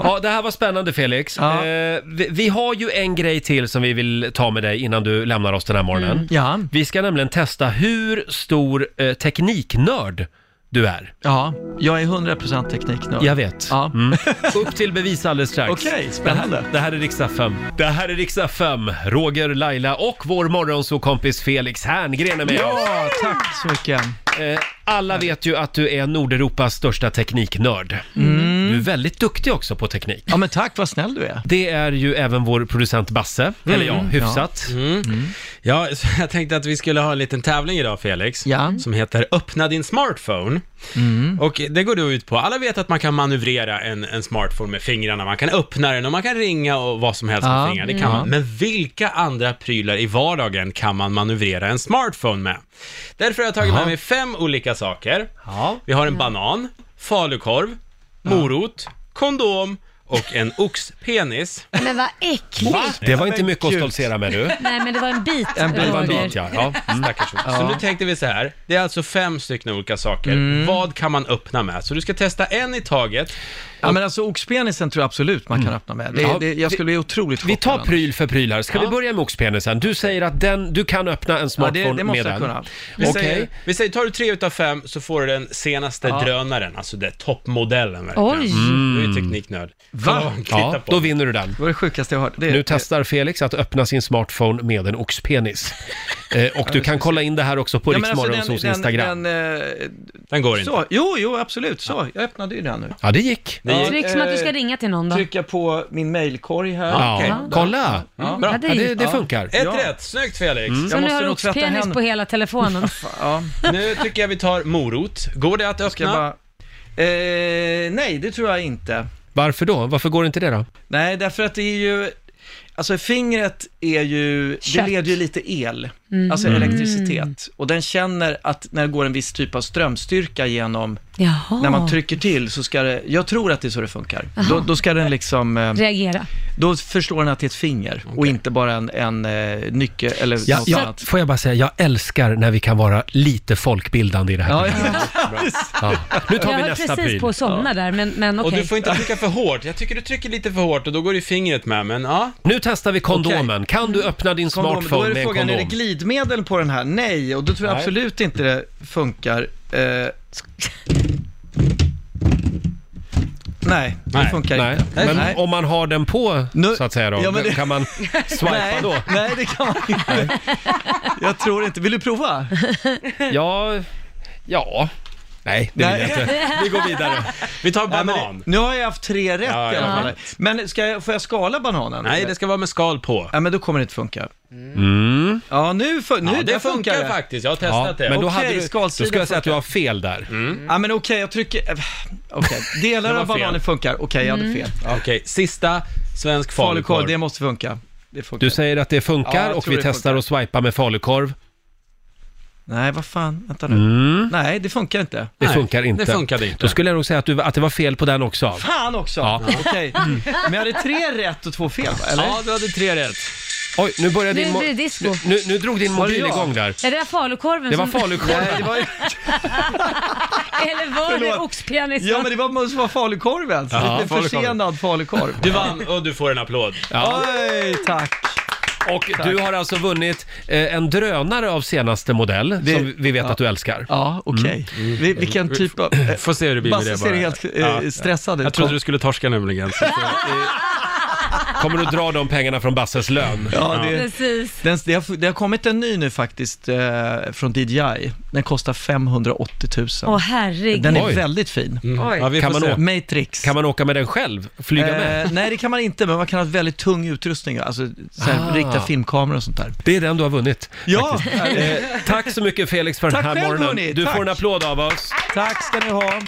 Speaker 1: Ja, det här var spännande Felix.
Speaker 9: Ja.
Speaker 1: Eh, vi, vi har ju en grej till som vi vill ta med dig innan du lämnar oss den här morgonen.
Speaker 9: Mm. Ja.
Speaker 1: Vi ska nämligen testa hur stor eh, tekniknörd du är.
Speaker 9: Ja, jag är 100% tekniknörd.
Speaker 1: Jag vet.
Speaker 9: Ja.
Speaker 1: Mm. Upp till bevis alldeles strax.
Speaker 9: Okej, spännande.
Speaker 1: Det här är riksdag 5. Det här är riksdag 5. Roger, Laila och vår morgonsåkompis Felix Herngren är med oss.
Speaker 9: Ja, tack så mycket.
Speaker 1: Eh, Alla vet ju att du är Nordeuropas största tekniknörd. Du är väldigt duktig också på teknik.
Speaker 9: Ja, men tack, vad snäll du är.
Speaker 1: Det är ju även vår producent Basse, eller ja, hyfsat.
Speaker 10: Ja, så jag tänkte att vi skulle ha en liten tävling idag Felix,
Speaker 9: Ja. Mm.
Speaker 10: som heter Öppna din smartphone. Och det går då ut på, alla vet att man kan manövrera en, en smartphone med fingrarna, man kan öppna den och man kan ringa och vad som helst
Speaker 9: Ja,
Speaker 10: med fingrar, det kan man. Men vilka andra prylar i vardagen kan man manövrera en smartphone med? Därför har jag tagit med mig fem olika saker.
Speaker 1: Ja.
Speaker 10: Vi har en banan, falukorv, morot, kondom och en oxpenis.
Speaker 2: Men vad äckligt!
Speaker 1: Det var inte mycket att
Speaker 9: Gud.
Speaker 1: stoltsera med du.
Speaker 2: Nej men det var en bit.
Speaker 9: En bit.
Speaker 1: Det var en
Speaker 2: Roger.
Speaker 1: bit ja. ja. Mm.
Speaker 10: Så nu tänkte vi så här, det är alltså fem stycken olika saker.
Speaker 9: Mm.
Speaker 10: Vad kan man öppna med? Så du ska testa en i taget. Mm.
Speaker 9: Ja, men alltså oxpenisen tror jag absolut man kan öppna med. Det,
Speaker 1: Ja,
Speaker 9: det, jag skulle bli otroligt
Speaker 1: Vi tar
Speaker 9: chockad.
Speaker 1: pryl för pryl här. Ska vi
Speaker 9: Ja.
Speaker 1: börja med oxpenisen? Du säger att den, du kan öppna en
Speaker 9: Ja,
Speaker 1: smartphone
Speaker 9: det, det måste
Speaker 1: med
Speaker 9: jag
Speaker 1: den.
Speaker 9: kunna.
Speaker 10: Vi,
Speaker 1: Okej.
Speaker 10: säger, vi säger, tar du tre utav fem så får du den senaste drönaren, alltså den toppmodellen verkligen.
Speaker 2: Oj!
Speaker 9: Mm.
Speaker 2: Mm.
Speaker 10: Du är ju tekniknörd.
Speaker 9: Va?
Speaker 1: Ja,
Speaker 10: Ja,
Speaker 1: då vinner du den.
Speaker 9: Det var det sjukaste jag hört. Det,
Speaker 1: Nu testar Felix att öppna sin smartphone med en oxpenis. Eh, och du kan kolla in det här också på
Speaker 9: Ja,
Speaker 1: ja,
Speaker 9: men alltså, den-
Speaker 1: Riksmorgonsos
Speaker 9: den-
Speaker 1: Instagram.
Speaker 9: den,
Speaker 10: Den går
Speaker 9: eh,
Speaker 10: inte.
Speaker 9: så, jo, jo, absolut. Så, jag öppnade ju den nu.
Speaker 1: Ja, det gick.
Speaker 10: Det gick.
Speaker 2: Tryck som att du
Speaker 9: eh,
Speaker 2: ska ringa till någon då.
Speaker 9: Trycka på min mailkorg här. Okej.
Speaker 1: Ja, kolla!
Speaker 10: Bra.
Speaker 1: Ja, det, det funkar.
Speaker 10: Ett
Speaker 9: Ja.
Speaker 10: rätt, snyggt Felix.
Speaker 2: Så
Speaker 9: Jag
Speaker 2: nu
Speaker 9: måste
Speaker 2: har du
Speaker 9: nog tvätta
Speaker 2: oxpenis
Speaker 9: händerna.
Speaker 2: på hela telefonen.
Speaker 9: Ja,
Speaker 10: Nu tycker jag vi tar morot. Går det att
Speaker 9: ska jag
Speaker 10: öppna?
Speaker 9: bara... Eh, nej, det tror jag inte.
Speaker 1: Varför då? Varför går inte det då?
Speaker 9: Nej, därför att det är ju... Alltså fingret är ju,
Speaker 2: Kött.
Speaker 9: det leder ju lite el, alltså elektricitet. Och den känner att när det går en viss typ av strömstyrka genom,
Speaker 2: Jaha.
Speaker 9: när man trycker till så ska det, jag tror att det är så det funkar. Då, då ska den liksom, eh,
Speaker 2: Reagera.
Speaker 9: då förstår den att det är ett finger och inte bara en, en eh, nyckel eller
Speaker 1: Ja,
Speaker 9: något
Speaker 1: jag,
Speaker 9: annat.
Speaker 1: får jag bara säga, jag älskar när vi kan vara lite folkbildande i det här.
Speaker 9: Ja,
Speaker 1: programmet. Ja. Nu tar
Speaker 2: Jag
Speaker 1: vi
Speaker 2: höll
Speaker 1: nästa
Speaker 2: precis
Speaker 1: pryl.
Speaker 2: på att somna där, men, men
Speaker 10: Och
Speaker 2: okej.
Speaker 10: du får inte trycka för hårt. Jag tycker du trycker lite för hårt och då går ju fingret med, men ja.
Speaker 1: Nu testar vi kondomen. Kan du öppna din
Speaker 9: Kondom, då
Speaker 1: smartphone
Speaker 9: är
Speaker 1: med
Speaker 9: det
Speaker 1: en
Speaker 9: frågan, är det
Speaker 1: kondom?
Speaker 9: glidmedel på den här? Nej, och då tror jag
Speaker 1: Nej.
Speaker 9: absolut inte det funkar. Eh, Nej, det
Speaker 10: Nej,
Speaker 9: funkar
Speaker 1: Nej,
Speaker 9: inte.
Speaker 1: men om man har den på
Speaker 9: Nu-
Speaker 1: så att säga då,
Speaker 9: Ja, men det-
Speaker 1: kan man swipa
Speaker 9: Nej,
Speaker 1: då?
Speaker 9: nej, det kan man inte. Jag tror inte. Vill du prova?
Speaker 1: Ja, ja. Nej, det vill
Speaker 9: Nej.
Speaker 1: jag inte. Vi går vidare.
Speaker 10: Vi tar
Speaker 9: Nej, men
Speaker 10: banan.
Speaker 9: det, nu har jag haft tre rätt
Speaker 10: Ja,
Speaker 9: i alla
Speaker 10: ja.
Speaker 9: fall. Men ska jag, får jag skala bananen?
Speaker 10: Nej, det ska vara med skal på.
Speaker 9: Ja, men då kommer det inte funka.
Speaker 1: Mm.
Speaker 9: Ja, nu, fun- nu
Speaker 10: Ja, det
Speaker 9: där
Speaker 10: funkar,
Speaker 9: det.
Speaker 10: faktiskt. Jag har
Speaker 1: Ja,
Speaker 10: testat det. Mm,
Speaker 1: men då,
Speaker 9: Okej,
Speaker 1: hade du, då
Speaker 9: skalsidan
Speaker 1: ska jag säga att du har fel där.
Speaker 9: Ja, men okej, jag trycker... eh, Okej, delar
Speaker 10: Det
Speaker 9: av
Speaker 10: var fel.
Speaker 9: bananen funkar. Okej, jag hade fel.
Speaker 10: Okej, sista svensk
Speaker 9: Falukorv,
Speaker 10: falukorv.
Speaker 9: det måste funka. Det funkar.
Speaker 1: Du säger att det
Speaker 9: Ja,
Speaker 1: funkar
Speaker 9: jag
Speaker 1: och
Speaker 9: tror
Speaker 1: vi
Speaker 9: det
Speaker 1: testar
Speaker 9: funkar.
Speaker 1: att swipa med falukorv.
Speaker 9: Nej, vad fan, vänta nu.
Speaker 10: Mm.
Speaker 9: Nej, det funkar inte.
Speaker 1: Det
Speaker 10: Nej,
Speaker 1: funkar inte.
Speaker 10: det funkade inte.
Speaker 1: Då skulle jag nog säga att, du, att det var fel på den också.
Speaker 9: Fan också!
Speaker 1: Ja.
Speaker 9: Okej. Men jag hade tre rätt och två fel, va? eller?
Speaker 10: Ja, du hade tre rätt.
Speaker 1: Oj, nu började
Speaker 2: Nu
Speaker 1: din... mo-
Speaker 2: blir det disco.
Speaker 1: Nu, nu, nu drog din
Speaker 9: det
Speaker 1: mobil
Speaker 9: jag?
Speaker 1: igång där.
Speaker 2: Är det där falukorven
Speaker 1: Det var
Speaker 2: som...
Speaker 9: Nej,
Speaker 1: falukorv.
Speaker 9: det var,
Speaker 2: Eller var det
Speaker 9: Förlåt.
Speaker 2: oxpianisten?
Speaker 9: ja, men det var, måste vara falukorven.
Speaker 1: Ja,
Speaker 9: Lite
Speaker 1: falukorv.
Speaker 9: försenad falukorv.
Speaker 10: Du vann och du får en applåd.
Speaker 1: Ja.
Speaker 9: Oj, tack.
Speaker 1: Och du har alltså vunnit eh, en drönare av senaste modell
Speaker 9: Det-
Speaker 1: som vi vet
Speaker 9: ja.
Speaker 1: att du älskar.
Speaker 9: Ja, okej.
Speaker 1: Mm.
Speaker 9: Vi, vilken typ av...
Speaker 10: Får se hur det blir med
Speaker 9: Basse
Speaker 10: det
Speaker 9: ser
Speaker 10: bara.
Speaker 9: helt eh,
Speaker 10: Ja.
Speaker 9: stressad ut.
Speaker 10: Jag trodde du skulle torska nämligen. Så- så-
Speaker 1: Kommer du dra de pengarna från Basses lön?
Speaker 9: Ja, det-
Speaker 2: Precis.
Speaker 9: Den, det, har, det har kommit en ny nu faktiskt eh, från DJI. Den kostar 580 000.
Speaker 2: Åh herregud.
Speaker 9: den är
Speaker 1: Oj. Mm.
Speaker 9: väldigt fin.
Speaker 3: Oj.
Speaker 10: Ja, vi
Speaker 1: Kan
Speaker 10: får
Speaker 1: man
Speaker 10: se.
Speaker 1: åka?
Speaker 9: Matrix.
Speaker 1: Kan man åka med den själv? Flyga med?
Speaker 9: Eh, nej, det kan man inte, men man kan ha väldigt tung utrustning, alltså så här,
Speaker 1: Ah.
Speaker 9: riktiga filmkameror och sånt där.
Speaker 1: Det är den du har vunnit.
Speaker 9: Ja,
Speaker 1: Eh, tack så mycket Felix för den
Speaker 9: Tack
Speaker 1: här
Speaker 9: själv,
Speaker 1: morgonen.
Speaker 9: hörni.
Speaker 1: du
Speaker 9: Tack.
Speaker 1: får en applåd av oss.
Speaker 9: tack ska ni ha.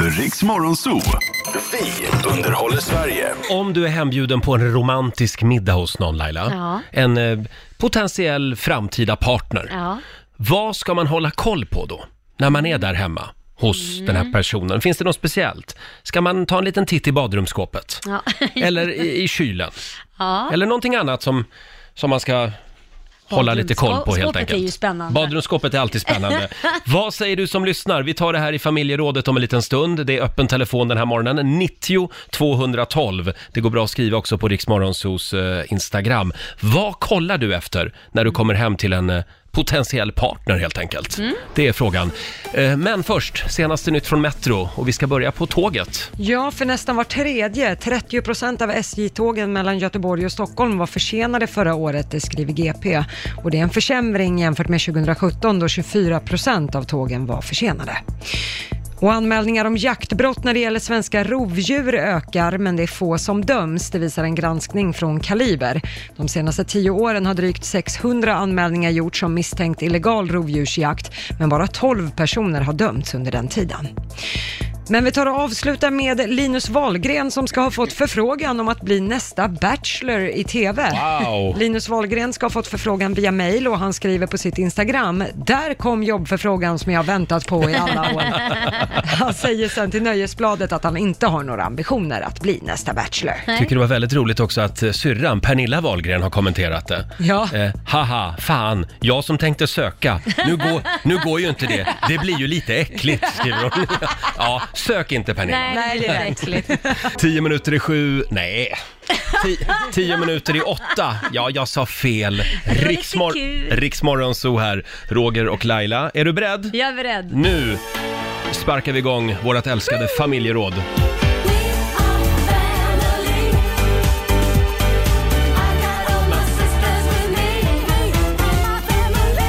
Speaker 4: Riks Morgonzoo. Vi underhåller Sverige.
Speaker 1: Om du är hembjuden på en romantisk middag hos någon Laila,
Speaker 2: Ja.
Speaker 1: en eh, potentiell framtida partner,
Speaker 2: Ja.
Speaker 1: vad ska man hålla koll på då? När man är där hemma hos
Speaker 2: Mm.
Speaker 1: den här personen. Finns det något speciellt? Ska man ta en liten titt i badrumsskåpet?
Speaker 2: Ja.
Speaker 1: Eller i, i kylen?
Speaker 2: ja.
Speaker 1: Eller någonting annat som, som man ska hålla lite koll på helt
Speaker 2: Badrumsskåpet
Speaker 1: enkelt.
Speaker 2: är ju spännande.
Speaker 1: Badrumsskåpet är alltid spännande. Vad säger du som lyssnar? Vi tar det här i familjerådet om en liten stund. Det är öppen telefon den här morgonen. 90 212. Det går bra att skriva också på Riksmorgonsos eh, Instagram. Vad kollar du efter när du kommer hem till en eh, potentiell partner helt enkelt?
Speaker 2: Mm.
Speaker 1: Det är frågan. Eh, Men först, senaste nytt från Metro och vi ska börja på tåget.
Speaker 3: Ja, för nästan var tredje, 30 procent av SJ-tågen mellan Göteborg och Stockholm var försenade förra året, det skriver GP. Och det är en försämring jämfört med 2017 då 24 procent av tågen var försenade. Och anmälningar om jaktbrott när det gäller svenska rovdjur ökar, men det är få som döms. Det visar en granskning från Kaliber. De senaste tio åren har drygt 600 anmälningar gjorts om misstänkt illegal rovdjursjakt, men bara 12 personer har dömts under den tiden. Men vi tar och avslutar med Linus Wahlgren som ska ha fått förfrågan om att bli nästa Bachelor i TV.
Speaker 1: Wow.
Speaker 3: Linus Wahlgren ska ha fått förfrågan via mail och han skriver på sitt Instagram, där kom jobbförfrågan som jag har väntat på i alla år. Han säger sen till Nöjesbladet att han inte har några ambitioner att bli nästa Bachelor.
Speaker 1: Tycker det var väldigt roligt också att eh, syrran Pernilla Wahlgren har kommenterat det.
Speaker 3: Ja.
Speaker 1: Eh, haha, fan, jag som tänkte söka. Nu går, nu går ju inte det. Det blir ju lite äckligt, skriver hon. Ja, sök inte Pernilla.
Speaker 2: Nej, det är äckligt.
Speaker 1: Tio minuter i sju, nej. Ti, tio minuter i åtta, ja jag sa fel. Riksmor,
Speaker 2: kul.
Speaker 1: Riksmorgon så här, Roger och Laila. Är du beredd?
Speaker 2: Jag är beredd.
Speaker 1: Nu sparkar vi igång vårt älskade familjeråd.
Speaker 7: We are family. I got all my sisters with me. My family.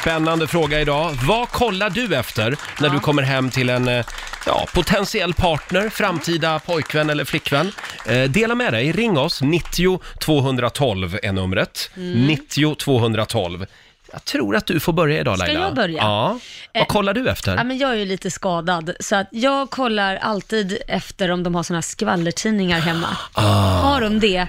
Speaker 1: Spännande fråga idag. Vad kollar du efter när du kommer hem till en eh, ja, potentiell partner, framtida pojkvän eller flickvän? Eh, dela med dig, ring oss. 90 212 är numret.
Speaker 2: Mm.
Speaker 1: 90 212. Jag tror att du får börja idag
Speaker 2: Ska
Speaker 1: Laila.
Speaker 2: jag börja?
Speaker 1: Ja. Vad
Speaker 2: Eh,
Speaker 1: kollar du efter?
Speaker 2: Ja, men jag är ju lite skadad, så att jag kollar alltid efter om de har såna här skvallertidningar hemma.
Speaker 1: Ah.
Speaker 2: Har de det,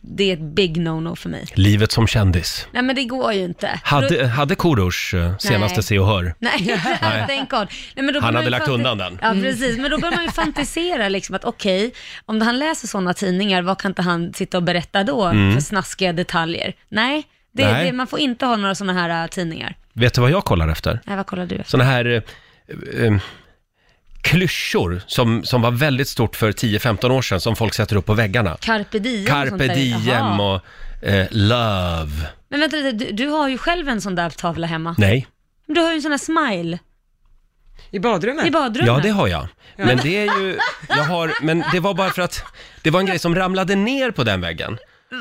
Speaker 2: det är ett big no-no för mig.
Speaker 1: Livet som kändis.
Speaker 2: Nej, men det går ju inte. Då-
Speaker 1: Hade, hade Korosh eh, senaste
Speaker 2: Nej.
Speaker 1: Se och Hör?
Speaker 2: Nej, thank God. Nej, men då bör
Speaker 1: hade
Speaker 2: man ju
Speaker 1: lagt
Speaker 2: fanti-
Speaker 1: undan den.
Speaker 2: Ja, precis. Men då börjar man ju fantisera liksom att okej, om han läser sådana tidningar, vad kan inte han sitta och berätta då för snaskiga detaljer? Nej, det,
Speaker 1: Mm. Nej.
Speaker 2: Det, man får inte ha några sådana här äh, tidningar.
Speaker 1: Vet du vad jag kollar efter?
Speaker 2: Nej, vad kollar du efter?
Speaker 1: såna här eh, eh, klyschor som, som var väldigt stort för 10-15 år sedan som folk sätter upp på väggarna.
Speaker 2: Carpe diem och sånt
Speaker 1: Carpe
Speaker 2: där. Jaha.
Speaker 1: diem och eh, love.
Speaker 2: Men vänta lite, du, du har ju själv en sån där tavla hemma.
Speaker 1: Nej,
Speaker 2: Men Du har ju en sån där smile
Speaker 3: I badrummet?
Speaker 2: i badrummet.
Speaker 1: ja det har jag. Men det är ju, jag har, men det var bara för att det var en grej som ramlade ner på den väggen.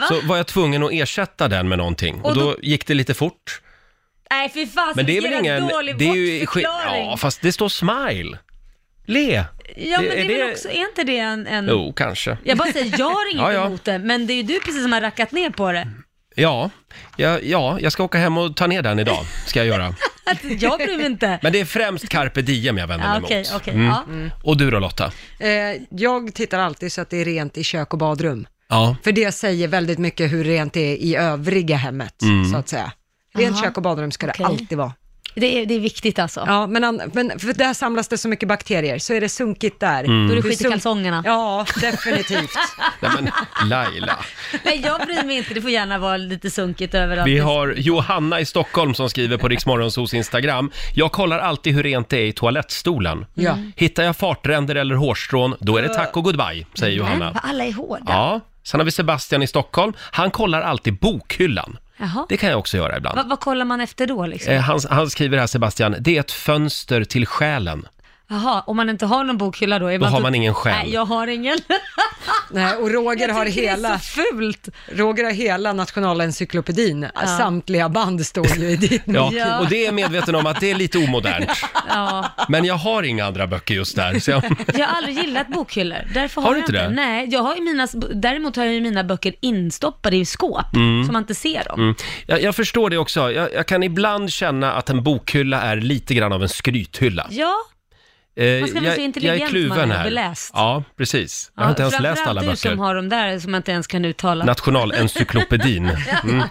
Speaker 1: Så var jag tvungen att ersätta den med någonting och
Speaker 2: Och då-
Speaker 1: då gick det lite fort.
Speaker 2: Nej, fy fasen
Speaker 1: Men det är väl
Speaker 2: vilken
Speaker 1: ingen...
Speaker 2: jävla dålig
Speaker 1: Det är ju,
Speaker 2: bortförklaring. Mm.
Speaker 1: ja, fast det står smile. Le.
Speaker 2: ja, men det,
Speaker 1: är
Speaker 2: är väl
Speaker 1: det-
Speaker 2: också, är inte det en... en...
Speaker 1: Jo, kanske.
Speaker 2: Jag bara säger, jag har inget
Speaker 1: Ja, ja.
Speaker 2: emot det, men det är ju du precis som har rackat ner på det.
Speaker 1: Ja, ja, ja, jag ska åka hem och ta ner den idag, ska jag göra.
Speaker 2: Att jag bryr mig inte.
Speaker 1: Men det är främst carpe diem jag vänder mig
Speaker 2: Ja,
Speaker 1: emot.
Speaker 2: Okej, okej.
Speaker 1: Mm.
Speaker 2: Ja.
Speaker 1: Och du då Lotta?
Speaker 3: Eh, jag tittar alltid så att det är rent i kök och badrum.
Speaker 1: Ja.
Speaker 3: För det säger väldigt mycket hur rent det är i övriga hemmet, så att säga. Rent
Speaker 2: Aha.
Speaker 3: kök och badrum ska det
Speaker 2: Okej.
Speaker 3: alltid vara.
Speaker 2: Det, är, det är viktigt alltså.
Speaker 3: Ja, men, an- men för där samlas det så mycket bakterier, så är det sunkigt där.
Speaker 2: Då är
Speaker 1: Mm.
Speaker 2: det
Speaker 3: Hur
Speaker 2: skit i
Speaker 3: sunk-
Speaker 2: kalsongerna.
Speaker 3: Ja, definitivt.
Speaker 1: Nej men Laila.
Speaker 2: Nej, jag bryr mig inte. Det får gärna vara lite sunkigt överallt. Liksom.
Speaker 1: Vi har Johanna i Stockholm som skriver på Riksmorgonsos Instagram. Jag kollar alltid hur rent det är i toalettstolen.
Speaker 3: Ja.
Speaker 2: Mm.
Speaker 1: Hittar jag fartränder eller hårstrån, då är det tack och goodbye, säger
Speaker 2: Men,
Speaker 1: Johanna.
Speaker 2: alla är hårda.
Speaker 1: Ja. Sen har vi Sebastian i Stockholm. Han kollar alltid bokhyllan.
Speaker 2: Jaha.
Speaker 1: Det kan jag också göra ibland.
Speaker 2: Va, vad kollar man efter då liksom?
Speaker 1: Eh, Han, han skriver här Sebastian, det är ett fönster till själen.
Speaker 2: Jaha, om man inte har någon bokhylla då? Är
Speaker 1: Då har
Speaker 2: inte-
Speaker 1: man ingen själ.
Speaker 2: Nej, jag har ingen.
Speaker 3: Nej, och Roger
Speaker 2: Jag
Speaker 3: har
Speaker 2: tycker det är
Speaker 3: hela...
Speaker 2: så fult!
Speaker 3: Roger har hela nationalencyklopedin. Samtliga band står ju i ditt
Speaker 1: Ja,
Speaker 2: Ja.
Speaker 1: och det är jag medveten om att det är lite omodernt.
Speaker 2: Ja.
Speaker 1: Men jag har inga andra böcker just där. Så jag...
Speaker 2: Jag har aldrig gillat bokhyllor. Därför har,
Speaker 1: Har du
Speaker 2: jag
Speaker 1: inte det?
Speaker 2: Nej, jag har ju mina, däremot har jag ju mina böcker instoppade i skåp,
Speaker 1: Mm.
Speaker 2: så man inte ser dem.
Speaker 1: Mm. Jag, jag förstår det också. Jag, jag kan ibland känna att en bokhylla är lite grann av en skrythylla.
Speaker 2: Ja,
Speaker 1: Eh,
Speaker 2: Man ska väl
Speaker 1: jag,
Speaker 2: se
Speaker 1: jag
Speaker 2: intelligent
Speaker 1: är
Speaker 2: man
Speaker 1: kluven
Speaker 2: är
Speaker 1: här.
Speaker 2: beläst.
Speaker 1: Ja, precis. Jag har inte ens läst
Speaker 2: framförallt
Speaker 1: alla
Speaker 2: du
Speaker 1: böcker.
Speaker 2: som har dem där som jag inte ens kan uttala.
Speaker 1: Nationalencyklopedin. Mm.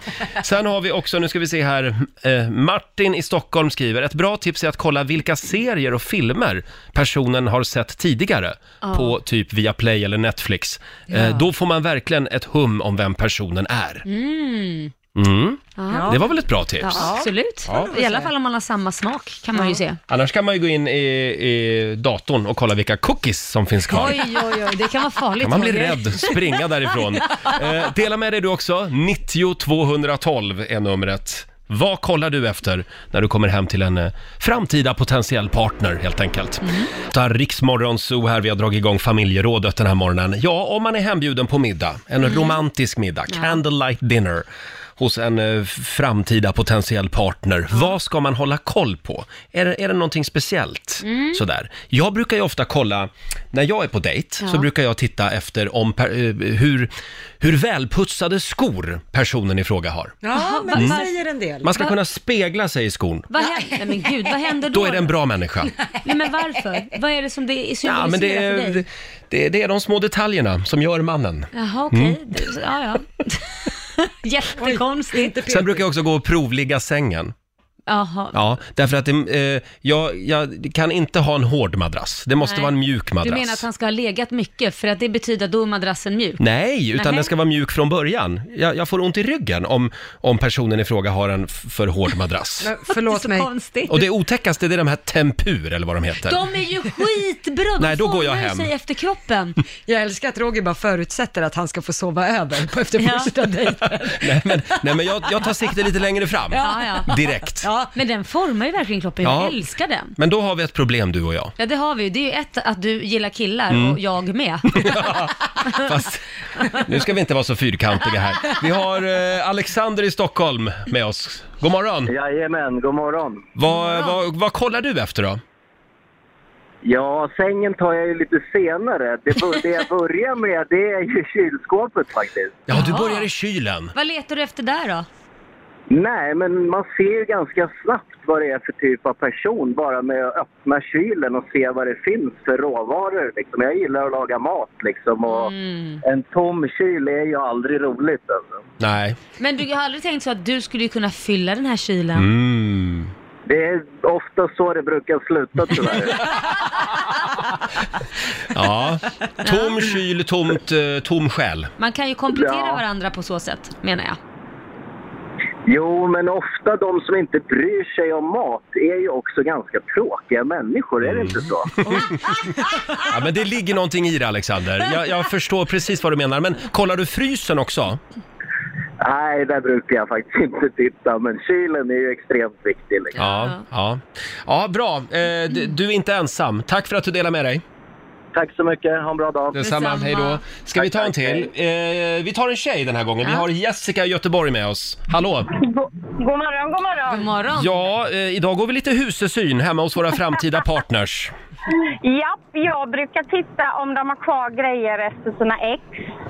Speaker 1: Sen har vi också, nu ska vi se här, eh, Martin i Stockholm skriver, ett bra tips är att kolla vilka serier och filmer personen har sett tidigare
Speaker 2: Ja.
Speaker 1: på typ Viaplay eller Netflix.
Speaker 2: Ja.
Speaker 1: Eh, då får man verkligen ett hum om vem personen är.
Speaker 2: Mm.
Speaker 1: Mm.
Speaker 2: Ja.
Speaker 1: Det var väl ett bra tips?
Speaker 2: Ja, absolut.
Speaker 1: Ja.
Speaker 2: I alla fall om man har samma smak kan man ju se.
Speaker 1: Annars kan man ju gå in i, i datorn och kolla vilka cookies som finns kvar.
Speaker 2: Oj, oj, oj, det kan vara farligt.
Speaker 1: Kan man bli
Speaker 2: Roger.
Speaker 1: rädd, springa därifrån. Eh, dela med dig du också. 90 212 är numret. Vad kollar du efter när du kommer hem till en eh, framtida potentiell partner helt enkelt? Mm. Riksmorgonzoo här, vi har dragit igång familjerådet den här morgonen. Ja, om man är hembjuden på middag, en romantisk middag, candlelight dinner hos en eh, framtida potentiell partner. Vad ska man hålla koll på? Är det, är det någonting speciellt?
Speaker 6: Mm.
Speaker 1: Sådär. Jag brukar ju ofta kolla, när jag är på dejt, så
Speaker 6: Ja.
Speaker 1: brukar jag titta efter om per, eh, hur, hur välputsade skor personen i fråga har.
Speaker 3: Ja, men
Speaker 1: Mm.
Speaker 3: det säger en del.
Speaker 1: Man ska
Speaker 2: Va-
Speaker 1: kunna spegla sig i skon.
Speaker 2: Vad händer? Nej, men gud, vad händer då?
Speaker 1: Då är det en bra människa.
Speaker 2: Nej, men varför? Vad är det som det symboliserar
Speaker 1: Ja, men det
Speaker 2: för dig?
Speaker 1: är, det, det är de små detaljerna som gör mannen.
Speaker 2: Jaha, okej.
Speaker 1: Mm.
Speaker 2: Du- Ja, ja. Jättekonstigt.
Speaker 1: Sen brukar jag också gå och provligga sängen.
Speaker 2: Jaha.
Speaker 1: Ja, därför att det, eh, jag, jag kan inte ha en hård madrass. Det måste
Speaker 2: Nej.
Speaker 1: vara en mjuk madrass.
Speaker 2: Du menar att han ska ha legat mycket för att det betyder att då är madrassen mjuk?
Speaker 1: Nej, utan
Speaker 2: Nähä.
Speaker 1: den ska vara mjuk från början. Jag, jag får ont i ryggen om, om personen i fråga har en f- för hård madrass.
Speaker 3: Men förlåt mig.
Speaker 2: Konstigt.
Speaker 1: Och det otäckaste, det är de här tempur, eller vad de heter.
Speaker 2: De är ju skitbra! De
Speaker 1: Nej, då går jag
Speaker 2: formar ju
Speaker 1: hem.
Speaker 2: sig efter kroppen.
Speaker 3: Jag älskar att Roger bara förutsätter att han ska få sova över på efter
Speaker 2: Ja.
Speaker 3: första dejten.
Speaker 1: Nej, men, nej, men jag, jag tar sikte lite längre fram.
Speaker 2: Ja, ja.
Speaker 1: Direkt.
Speaker 2: Ja. Men den formar ju verkligen kroppen.
Speaker 1: Ja.
Speaker 2: Jag älskar den.
Speaker 1: Men då har vi ett problem, du och jag.
Speaker 2: Ja, det har vi ju. Det är ju ett att du gillar killar
Speaker 1: Mm.
Speaker 2: och jag med.
Speaker 1: Fast nu ska vi inte vara så fyrkantiga här. Vi har eh, Alexander i Stockholm med oss. God morgon!
Speaker 11: Jajamän, god morgon.
Speaker 1: Vad, vad, vad kollar du efter då?
Speaker 11: Ja, sängen tar jag ju lite senare. Det, bör, det jag börjar med det är ju kylskåpet faktiskt.
Speaker 1: Ja, du börjar i kylen.
Speaker 2: Vad letar du efter där då?
Speaker 11: Nej, men man ser ju ganska snabbt vad det är för typ av person bara med att öppna kylen och se vad det finns för råvaror. Liksom. Jag gillar att laga mat liksom och
Speaker 2: Mm.
Speaker 11: en tom kyl är ju aldrig roligt. Alltså.
Speaker 1: Nej.
Speaker 2: Men du har aldrig tänkt så att du skulle ju kunna fylla den här kylen?
Speaker 1: Mm.
Speaker 11: Det är ofta så det brukar sluta tyvärr.
Speaker 1: Ja, tom kyl, tomt, eh, tom själ.
Speaker 2: Man kan ju komplettera
Speaker 11: Ja.
Speaker 2: varandra på så sätt, menar jag.
Speaker 11: Jo, men ofta de som inte bryr sig om mat är ju också ganska tråkiga människor, är det inte så?
Speaker 1: Mm. Ja, men det ligger någonting i det, Alexander. Jag, jag förstår precis vad du menar. Men kollar du frysen också?
Speaker 11: Nej, där brukar jag faktiskt inte titta, men kylen är ju extremt viktig. Liksom.
Speaker 1: Ja. Ja, ja bra. Eh, d- du är inte ensam. Tack för att du delar med dig.
Speaker 11: Tack så mycket, ha en bra dag.
Speaker 1: Detsamma, hej då. Ska vi ta en till? Eh, vi tar en tjej den här gången. Vi har Jessica i Göteborg med oss. Hallå!
Speaker 12: God morgon, god morgon.
Speaker 2: God morgon.
Speaker 1: Ja, eh, idag går vi lite husesyn hemma hos våra framtida partners.
Speaker 12: Japp, jag brukar titta om de har kvar grejer efter sina ex.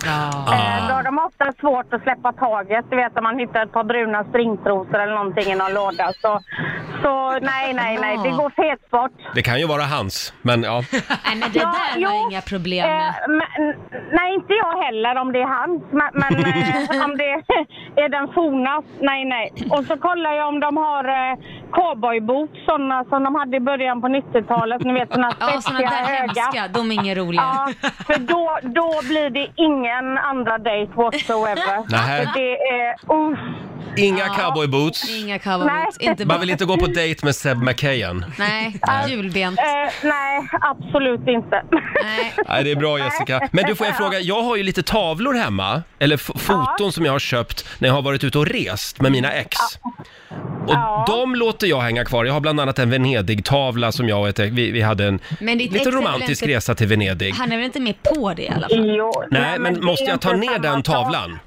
Speaker 12: Eh,
Speaker 1: Ah,
Speaker 12: Då har de ofta svårt att släppa taget. Du vet om man hittar ett par bruna stringtrosor eller någonting i någon låda. Så, så nej, nej, nej, det går fetsport.
Speaker 1: Det kan ju vara hans, men ja.
Speaker 2: Nej, men det där har jag inga problem
Speaker 7: Äh,
Speaker 2: med.
Speaker 12: Eh, men, nej, inte jag heller om det är hans. Men, men eh, om det är den forna, nej, nej. Och så kollar jag om de har eh, cowboyboots, sådana som de hade i början på 90-talet. Ni vet sådana
Speaker 2: Ja, såna
Speaker 12: spetsiga,
Speaker 2: där
Speaker 12: höga.
Speaker 2: hemska, de är inga roliga.
Speaker 12: Ja, för då, då blir det ingen andra dejt whatsoever.
Speaker 1: Nähä.
Speaker 12: För det är, uff.
Speaker 1: Inga cowboyboots.
Speaker 2: Inga cowboyboots, inte
Speaker 1: Man vill inte gå på dejt med Seb McKayen.
Speaker 2: Nej, julbent.
Speaker 12: Eh, nej, absolut inte.
Speaker 1: Nej, det är bra Jessica. Men du får jag fråga, jag har ju lite tavlor hemma, eller f- foton som jag har köpt när jag har varit ute och rest med mina ex. Och de låter jag hänga kvar. Jag har bland annat en Venedig-tavla som jag och ett, vi, vi hade en
Speaker 2: Men ditt ex är
Speaker 1: lite
Speaker 2: väl
Speaker 1: romantisk
Speaker 2: inte-
Speaker 1: resa till Venedig.
Speaker 2: Han är väl inte med på det i alla
Speaker 1: Mm.
Speaker 2: fall?
Speaker 1: Nej, men måste jag ta ner den tavlan?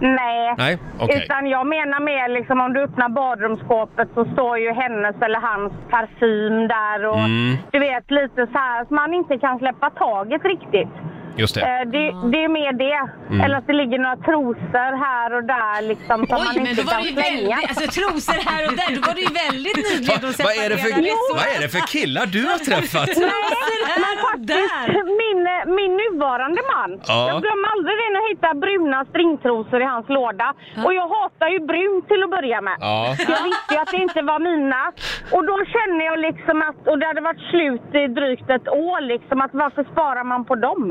Speaker 12: Nej.
Speaker 1: Nej, okej.
Speaker 12: Utan jag menar mer liksom om du öppnar badrumsskåpet så står ju hennes eller hans parfym där och
Speaker 1: Mm.
Speaker 12: du vet lite så här att man inte kan släppa taget riktigt.
Speaker 1: Just det.
Speaker 12: Eh, det, det är mer det.
Speaker 1: Mm.
Speaker 12: Eller att det ligger några trosor här och där liksom som man
Speaker 2: Oj, men
Speaker 12: inte
Speaker 2: då var
Speaker 12: kan
Speaker 2: det ju
Speaker 12: slänga.
Speaker 2: väldigt, alltså trosor här och där, då var det ju väldigt
Speaker 1: Va,
Speaker 2: nydligt
Speaker 1: vad, är det för,
Speaker 2: liksom.
Speaker 1: vad är det för killar du har träffat?
Speaker 12: Men faktiskt, min, min nuvarande man.
Speaker 1: Ja.
Speaker 12: Jag glömmer aldrig det när jag hittar bruna stringtrosor i hans låda. Och jag hatar ju brunt till att börja med.
Speaker 1: Ja.
Speaker 12: Jag visste ju att det inte var mina. Och då känner jag liksom att, och det hade varit slut i drygt ett år liksom, att varför sparar man på dem?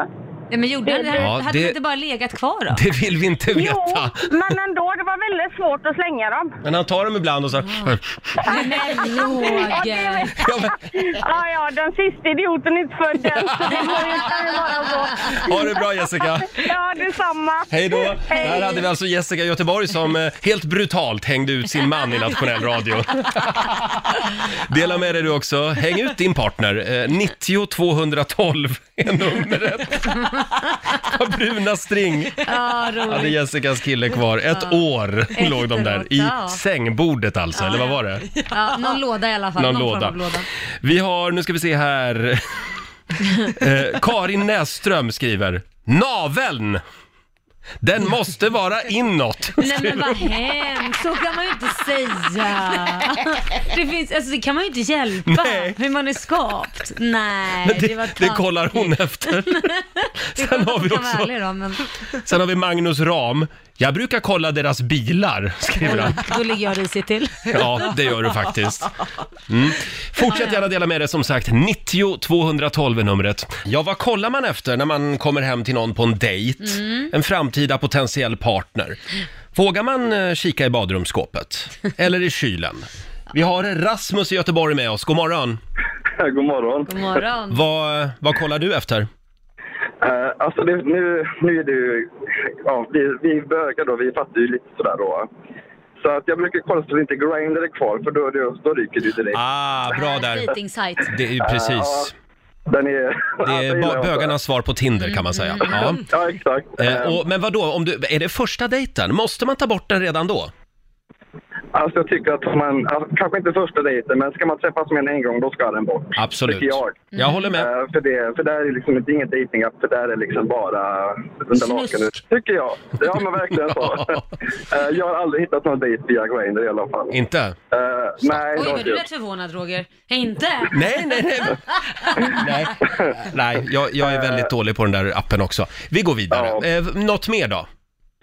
Speaker 2: Ja, men gjorde han det?
Speaker 1: Ja,
Speaker 2: Hade de
Speaker 1: det-
Speaker 2: inte bara legat kvar då?
Speaker 1: Det vill vi inte veta.
Speaker 12: Jo, men ändå, det var väldigt svårt att slänga dem.
Speaker 1: Men han tar dem ibland och så...
Speaker 12: Men Roger! ja, ja, den sista idioten är inte född än, så det går ju inte att vara så.
Speaker 1: Ha det bra, Jessica.
Speaker 12: Ja, detsamma.
Speaker 1: Hej då!
Speaker 12: Hej.
Speaker 1: Där hade vi alltså Jessica Göteborg som eh, helt brutalt hängde ut sin man i nationell radio. Dela med dig du också. Häng ut din partner. Eh, 90 212 är numret. På bruna string.
Speaker 2: Ja,
Speaker 1: Hade
Speaker 2: roligt.
Speaker 1: Jessicas kille kvar. Ett år låg de där. I
Speaker 2: ja.
Speaker 1: sängbordet alltså, eller vad var det?
Speaker 2: Ja, någon låda i alla fall.
Speaker 1: Någon
Speaker 2: Någon,
Speaker 1: låda.
Speaker 2: Form av låda.
Speaker 1: Vi har, nu ska vi se här. Eh, Karin Näsström skriver, naveln! Den måste vara inåt.
Speaker 2: Nej men vad hemskt, så kan man ju inte säga. Det, finns, alltså, det kan man ju inte hjälpa, hur man är skapt. Nej,
Speaker 1: Men
Speaker 2: det,
Speaker 1: det,
Speaker 2: var
Speaker 1: det kollar hon efter. Sen har vi också,
Speaker 2: Ärlig då, men
Speaker 1: sen har vi Magnus Ram. Jag brukar kolla deras bilar, skriver han.
Speaker 2: då ligger jag risigt till.
Speaker 1: Ja, det gör du faktiskt. Mm. Fortsätt gärna dela med dig som sagt. 90 212 är numret. Ja, vad kollar man efter när man kommer hem till någon på en dejt?
Speaker 6: Mm.
Speaker 1: En framtida potentiell partner. Vågar man eh, kika i badrumsskåpet? Eller i kylen? Vi har Rasmus i Göteborg med oss. God morgon!
Speaker 8: God morgon.
Speaker 2: God morgon.
Speaker 1: Vad, vad kollar du efter?
Speaker 8: Eh, alltså det, nu, nu är det ju, ja, vi, vi bögar då, vi fattar ju lite sådär då. Så att jag brukar kolla så att inte Grindr är kvar för då, då, då ryker det direkt.
Speaker 1: Ah, bra där.
Speaker 2: Dating site.
Speaker 1: Det är ju precis.
Speaker 8: Den är...
Speaker 1: Det är ba- bögarnas svar på Tinder kan man säga. Ja.
Speaker 8: Ja, exakt.
Speaker 1: Eh, och, men vadå, om du, är det första dejten? Måste man ta bort den redan då?
Speaker 8: Alltså jag tycker att man, alltså, kanske inte första dejten, men ska man träffas med en en gång då ska den bort.
Speaker 1: Absolut.
Speaker 8: Tycker jag.
Speaker 1: Jag håller med.
Speaker 8: Eh, för, det, för där är liksom inte inget dejtingapp, för där är liksom bara under lakanet. Tycker jag. Ja men verkligen så. Eh, jag har aldrig hittat någon dejt via Grindr i alla fall.
Speaker 1: Inte?
Speaker 8: Eh, nej,
Speaker 2: Oj,
Speaker 8: det har
Speaker 2: var
Speaker 8: inte
Speaker 2: du
Speaker 8: jag.
Speaker 2: rätt förvånad Roger? Inte?
Speaker 1: Nej, nej, nej. Nej, nej jag, jag är väldigt dålig på den där appen också. Vi går vidare. Eh, något mer då?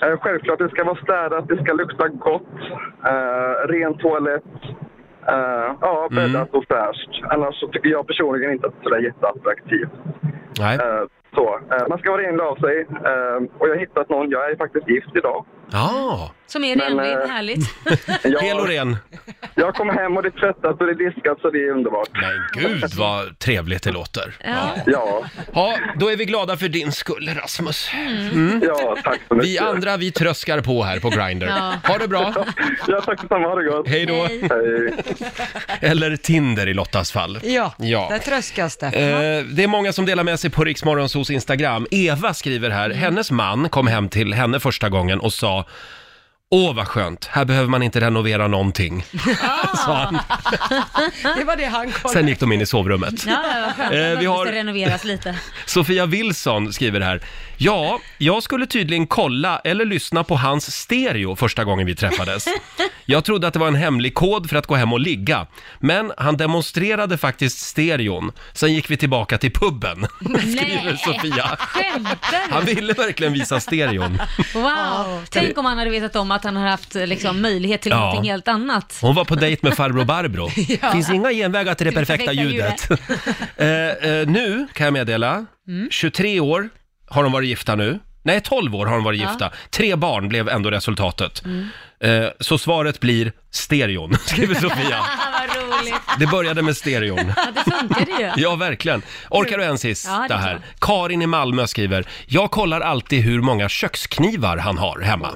Speaker 8: Eh, Självklart, det ska vara städat, det ska lukta gott, eh, ren toalett, eh, ja,
Speaker 1: Mm.
Speaker 8: bäddat och fräscht. Annars så tycker jag personligen inte att det är sådär jätteattraktivt.
Speaker 1: Nej.
Speaker 8: Eh, så. Eh, man ska vara renlig av sig. Eh, och jag har hittat någon, jag är faktiskt gift idag.
Speaker 1: Ja.
Speaker 2: Som är
Speaker 8: Men,
Speaker 2: renlig,
Speaker 8: eh,
Speaker 2: härligt.
Speaker 8: Jag,
Speaker 1: Hel och ren.
Speaker 8: Jag kommer hem och det är tvättat och det är diskat så det är underbart.
Speaker 1: Men Gud vad trevligt det låter.
Speaker 2: Ja.
Speaker 8: Ja.
Speaker 1: Ja, då är vi glada för din skull Rasmus.
Speaker 8: Ja, tack så mycket.
Speaker 1: Vi andra, vi tröskar på här på Grindr.
Speaker 8: Ja.
Speaker 1: Ha det bra!
Speaker 8: Ja, tack detsamma, ha det gott!
Speaker 1: Hej då! Eller Tinder i Lottas fall.
Speaker 3: Ja,
Speaker 1: Ja.
Speaker 3: där tröskas det.
Speaker 1: Eh, det är många som delar med sig på Riksmorgonsos Instagram. Eva skriver
Speaker 2: Mm.
Speaker 1: här, hennes man kom hem till henne första gången och sa Åh vad skönt, här behöver man inte renovera någonting. sa han.
Speaker 3: det var det han kollade.
Speaker 1: Sen gick de in i sovrummet.
Speaker 2: Ja, ja, vad skönt.
Speaker 1: Eh,
Speaker 2: Eh,
Speaker 1: vi
Speaker 2: vi
Speaker 1: har-
Speaker 2: ska renoveras lite.
Speaker 1: Sofia Wilson skriver här. Ja, jag skulle tydligen kolla eller lyssna på hans stereo första gången vi träffades. Jag trodde att det var en hemlig kod för att gå hem och ligga. Men han demonstrerade faktiskt stereon. Sen gick vi tillbaka till puben, skriver Sofia.
Speaker 2: Skämtar du?
Speaker 1: Han ville verkligen visa stereon.
Speaker 2: Wow! Tänk om han hade vetat om att han hade haft eh, liksom, möjlighet till
Speaker 1: Ja.
Speaker 2: någonting helt annat.
Speaker 1: Hon var på dejt med farbror Barbro.
Speaker 2: Ja.
Speaker 1: Finns inga genvägar till det perfekta
Speaker 2: Perfekta
Speaker 1: ljudet.
Speaker 2: ljudet.
Speaker 1: Eh, eh, nu kan jag meddela,
Speaker 2: Mm.
Speaker 1: 23 år har de varit gifta nu. Nej, 12 år har de varit
Speaker 6: Ja.
Speaker 1: gifta. Tre barn blev ändå resultatet.
Speaker 2: Mm.
Speaker 1: Eh, så svaret blir stereon, skriver Sofia.
Speaker 2: Vad roligt.
Speaker 1: Det började med stereon.
Speaker 2: Ja, det funkade ju.
Speaker 1: Ja, verkligen. Orkar du en
Speaker 2: Ja,
Speaker 1: sista
Speaker 2: det är
Speaker 1: här? Karin i Malmö skriver, jag kollar alltid hur många köksknivar han har hemma.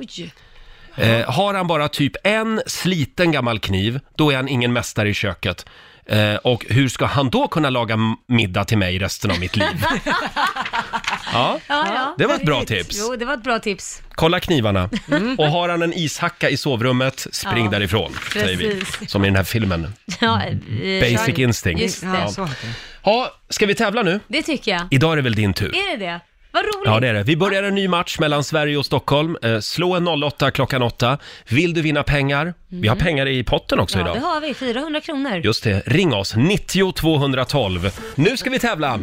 Speaker 1: Eh, har han bara typ en sliten gammal kniv, då är han ingen mästare i köket. Eh, och hur ska han då kunna laga m- middag till mig resten av mitt liv? Ja, det var ett bra tips.
Speaker 2: Jo, det var ett bra tips.
Speaker 1: Kolla knivarna.
Speaker 2: Mm.
Speaker 1: Och har han en ishacka i sovrummet, spring
Speaker 2: Ja,
Speaker 1: därifrån, säger vi.
Speaker 2: precis.
Speaker 1: Som i den här filmen.
Speaker 2: Ja, eh,
Speaker 1: Basic instinct.
Speaker 2: Just det.
Speaker 1: Ja. Ja, ska vi tävla nu?
Speaker 2: Det tycker jag.
Speaker 1: Idag är det väl din tur?
Speaker 2: Är det det? Vad roligt.
Speaker 1: Ja, det är det. Vi börjar en ny match mellan Sverige och Stockholm. Eh, slå en 08 klockan 8. Vill du vinna pengar? Vi har pengar i potten också
Speaker 2: Mm. Ja,
Speaker 1: idag.
Speaker 2: det har vi. 400 kronor.
Speaker 1: Just det. Ring oss, 90 212. Nu ska vi tävla!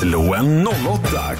Speaker 4: Slå en 08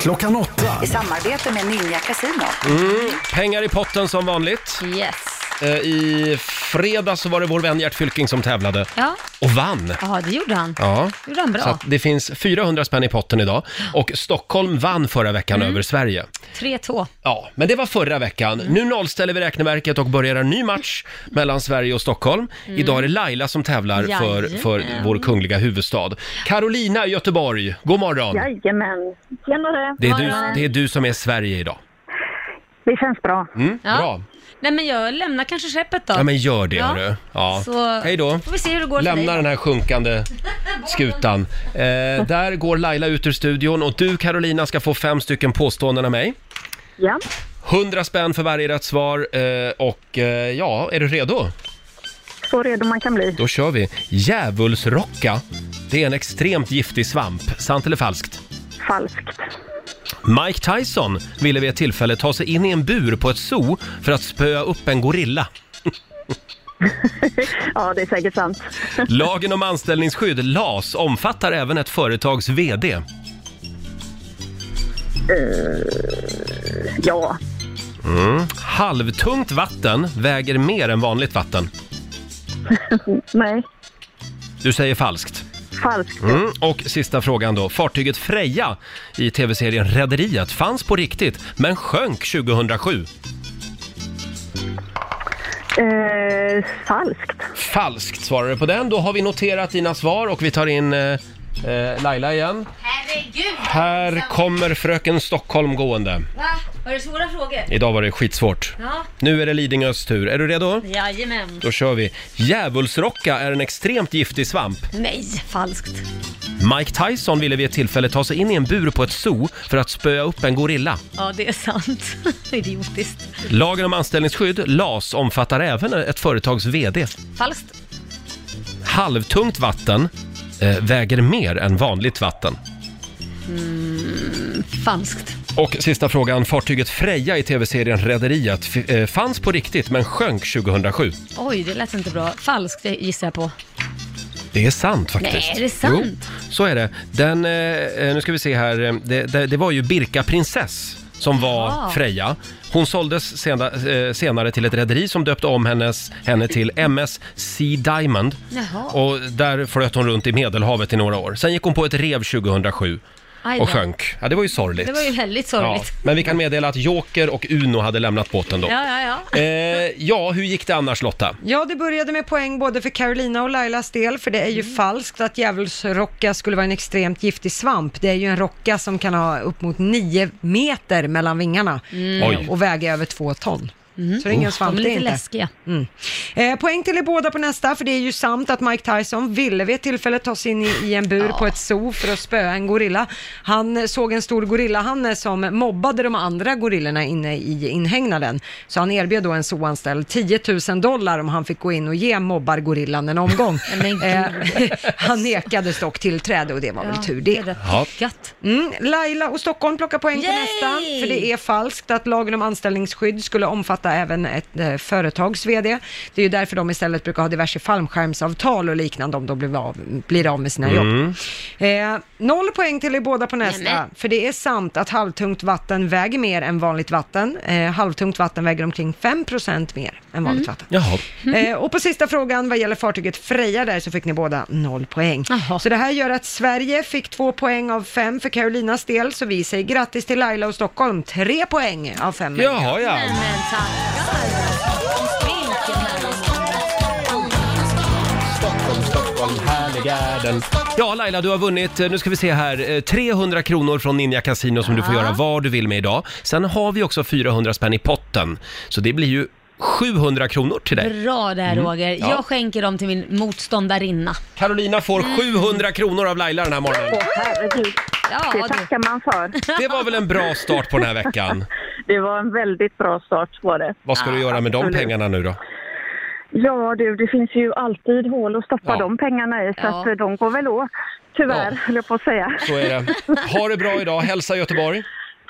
Speaker 4: klockan 8.
Speaker 13: I samarbete med Ninja Casino.
Speaker 1: Mm, pengar i potten som vanligt.
Speaker 2: Yes.
Speaker 1: Eh, I fredags så var det vår vän Gert Fylking som tävlade
Speaker 2: Ja.
Speaker 1: och vann.
Speaker 2: ja, det gjorde han.
Speaker 1: Ja.
Speaker 2: Gjorde han bra.
Speaker 1: Så att det finns 400 spänn i potten idag och Stockholm vann förra veckan över Sverige.
Speaker 2: 3-2.
Speaker 1: Ja, men det var förra veckan.
Speaker 2: Mm.
Speaker 1: Nu nollställer vi räkneverket och börjar en ny match mellan Sverige och Stockholm.
Speaker 2: Mm.
Speaker 1: Idag är det Laila som tävlar för, för
Speaker 12: Jajamän.
Speaker 1: vår kungliga huvudstad. Carolina i Göteborg, god morgon!
Speaker 12: Jajamän. Tjenare.
Speaker 1: Det är, du, det är du som är Sverige idag.
Speaker 12: Det känns bra.
Speaker 1: Mm,
Speaker 2: Ja.
Speaker 1: Bra!
Speaker 2: Nej, men jag lämnar kanske skeppet då.
Speaker 1: Ja, men gör det
Speaker 2: Ja.
Speaker 1: hörru. Ja.
Speaker 2: Så
Speaker 1: Hej då!
Speaker 2: får vi se hur det går för
Speaker 1: Lämna
Speaker 2: dig.
Speaker 1: den här sjunkande skutan. Eh, där går Laila ut ur studion och du Carolina ska få fem stycken påståenden av mig.
Speaker 12: Ja.
Speaker 1: 100 spänn för varje rätt svar eh, och eh, ja, är du redo?
Speaker 12: Så redo man kan bli.
Speaker 1: Då kör vi. Djävulsrocka, det är en extremt giftig svamp. Sant eller falskt?
Speaker 12: Falskt.
Speaker 1: Mike Tyson ville vid ett tillfälle ta sig in i en bur på ett zoo för att spöa upp en gorilla.
Speaker 12: Ja, det är säkert sant.
Speaker 1: Lagen om anställningsskydd, LAS, omfattar även ett företags VD.
Speaker 12: Eh, ja.
Speaker 1: Mm. Halvtungt vatten väger mer än vanligt vatten.
Speaker 12: Nej.
Speaker 1: Du säger falskt.
Speaker 12: Falskt.
Speaker 1: Mm. Och sista frågan då. Fartyget Freja i tv-serien Rederiet fanns på riktigt, men sjönk 2007.
Speaker 12: Eh, falskt.
Speaker 1: Falskt svarar du på den. Då har vi noterat dina svar och vi tar in eh, eh, Laila igen.
Speaker 2: Herregud!
Speaker 1: Här kommer fröken Stockholm gående.
Speaker 2: Va? Var det svåra frågor?
Speaker 1: Idag var det skitsvårt.
Speaker 2: Ja.
Speaker 1: Nu är det Lidingös tur. Är du redo?
Speaker 2: Jajamän.
Speaker 1: Då kör vi. Djävulsrocka är en extremt giftig svamp.
Speaker 2: Nej, falskt.
Speaker 1: Mike Tyson ville vid ett tillfälle ta sig in i en bur på ett zoo för att spöa upp en gorilla.
Speaker 2: Ja, det är sant. Idiotiskt.
Speaker 1: Lagen om anställningsskydd, LAS, omfattar även ett företags VD.
Speaker 2: Falskt.
Speaker 1: Halvtungt vatten eh, väger mer än vanligt vatten.
Speaker 2: Mm, falskt.
Speaker 1: Och sista frågan. Fartyget Freja i tv-serien Rederiet f- eh, fanns på riktigt men sjönk 2007.
Speaker 2: Oj, det lät inte bra. Falskt gissar jag på.
Speaker 1: Det är sant faktiskt.
Speaker 2: Nej, är det sant?
Speaker 1: Jo, så är det. Den, eh, eh, nu ska vi se här. eh, Det, det, det var ju Birka Prinsess som var
Speaker 2: Jaha.
Speaker 1: Freja. Hon såldes sena, eh, senare till ett rederi som döpte om hennes, henne till MS Sea Diamond.
Speaker 2: Jaha.
Speaker 1: Och där flöt hon runt i Medelhavet i några år. Sen gick hon på ett rev 2007
Speaker 2: Aj
Speaker 1: och
Speaker 2: då.
Speaker 1: sjönk. Ja, det var ju sorgligt.
Speaker 2: Det var ju väldigt sorgligt.
Speaker 1: Ja, men vi kan meddela att Joker och Uno hade lämnat båten då.
Speaker 2: Ja, ja, ja.
Speaker 1: Eh, ja, hur gick det annars Lotta?
Speaker 3: Ja, det började med poäng både för Carolina och Lailas del, för det är ju
Speaker 12: Mm.
Speaker 3: falskt att djävulsrocka skulle vara en extremt giftig svamp. Det är ju en rocka som kan ha upp mot nio meter mellan vingarna
Speaker 2: Mm. Oj.
Speaker 3: och väga över två ton.
Speaker 1: Mm.
Speaker 3: Så det är ingen svamp
Speaker 2: De är
Speaker 3: det
Speaker 2: lite
Speaker 3: inte.
Speaker 2: läskiga.
Speaker 3: Mm. Eh, poäng till er båda på nästa, för det är ju sant att Mike Tyson ville vid ett tillfälle ta sig in i, i en bur på ett zoo för att spöa en gorilla. Han eh, såg en stor gorillahanne som mobbade de andra gorillorna inne i inhägnaden. Så han erbjöd då en zooanställd 10 000 dollar om han fick gå in och ge mobbargorillan en omgång. eh, han nekades dock tillträde och det var väl tur det.
Speaker 1: Ja.
Speaker 3: Mm, Laila och Stockholm plockar poäng på
Speaker 2: Yay!
Speaker 3: nästa, för det är falskt att lagen om anställningsskydd skulle omfatta även ett eh, företags vd. Det är ju därför de istället brukar ha diverse fallskärmsavtal och liknande om de blir av, blir av med sina jobb.
Speaker 6: Mm.
Speaker 3: Eh, noll poäng till er båda på nästa, för det är sant att halvtungt vatten väger mer än vanligt vatten. Eh, halvtungt vatten väger omkring 5% mer än vanligt vatten.
Speaker 1: Jaha.
Speaker 2: Mm.
Speaker 3: Eh, och på sista frågan vad gäller fartyget Freja där så fick ni båda noll poäng. Så det här gör att Sverige fick två poäng av fem för Carolinas del, så vi säger grattis till Laila och Stockholm, tre poäng av fem.
Speaker 1: Jaha, ja.
Speaker 6: Stockholm, Stockholm, härlig
Speaker 1: garden. Ja, Laila, du har vunnit, eh, nu ska vi se här, eh, 300 kronor från Ninja Casino som du får
Speaker 14: Ja.
Speaker 1: göra vad du vill med idag. Sen har vi också 400 spänn i potten, så det blir ju 700 kronor till dig.
Speaker 2: Bra där
Speaker 1: Mm.
Speaker 2: Roger.
Speaker 1: Ja.
Speaker 2: Jag skänker dem till min motståndarinna.
Speaker 1: Carolina får 700 kronor av Laila den här morgonen.
Speaker 12: Herregud.
Speaker 2: Ja,
Speaker 12: det tackar man för.
Speaker 1: Det var väl en bra start på den här veckan.
Speaker 12: Det var en väldigt bra start var det.
Speaker 1: Vad ska du göra med de
Speaker 12: absolut.
Speaker 1: pengarna nu då?
Speaker 12: Ja du, det finns ju alltid hål att stoppa de pengarna i så
Speaker 1: Ja.
Speaker 12: att eh, de går väl åt. Tyvärr,
Speaker 1: Ja.
Speaker 12: höll jag på att säga.
Speaker 1: Så är det. Ha det bra idag, hälsa Göteborg.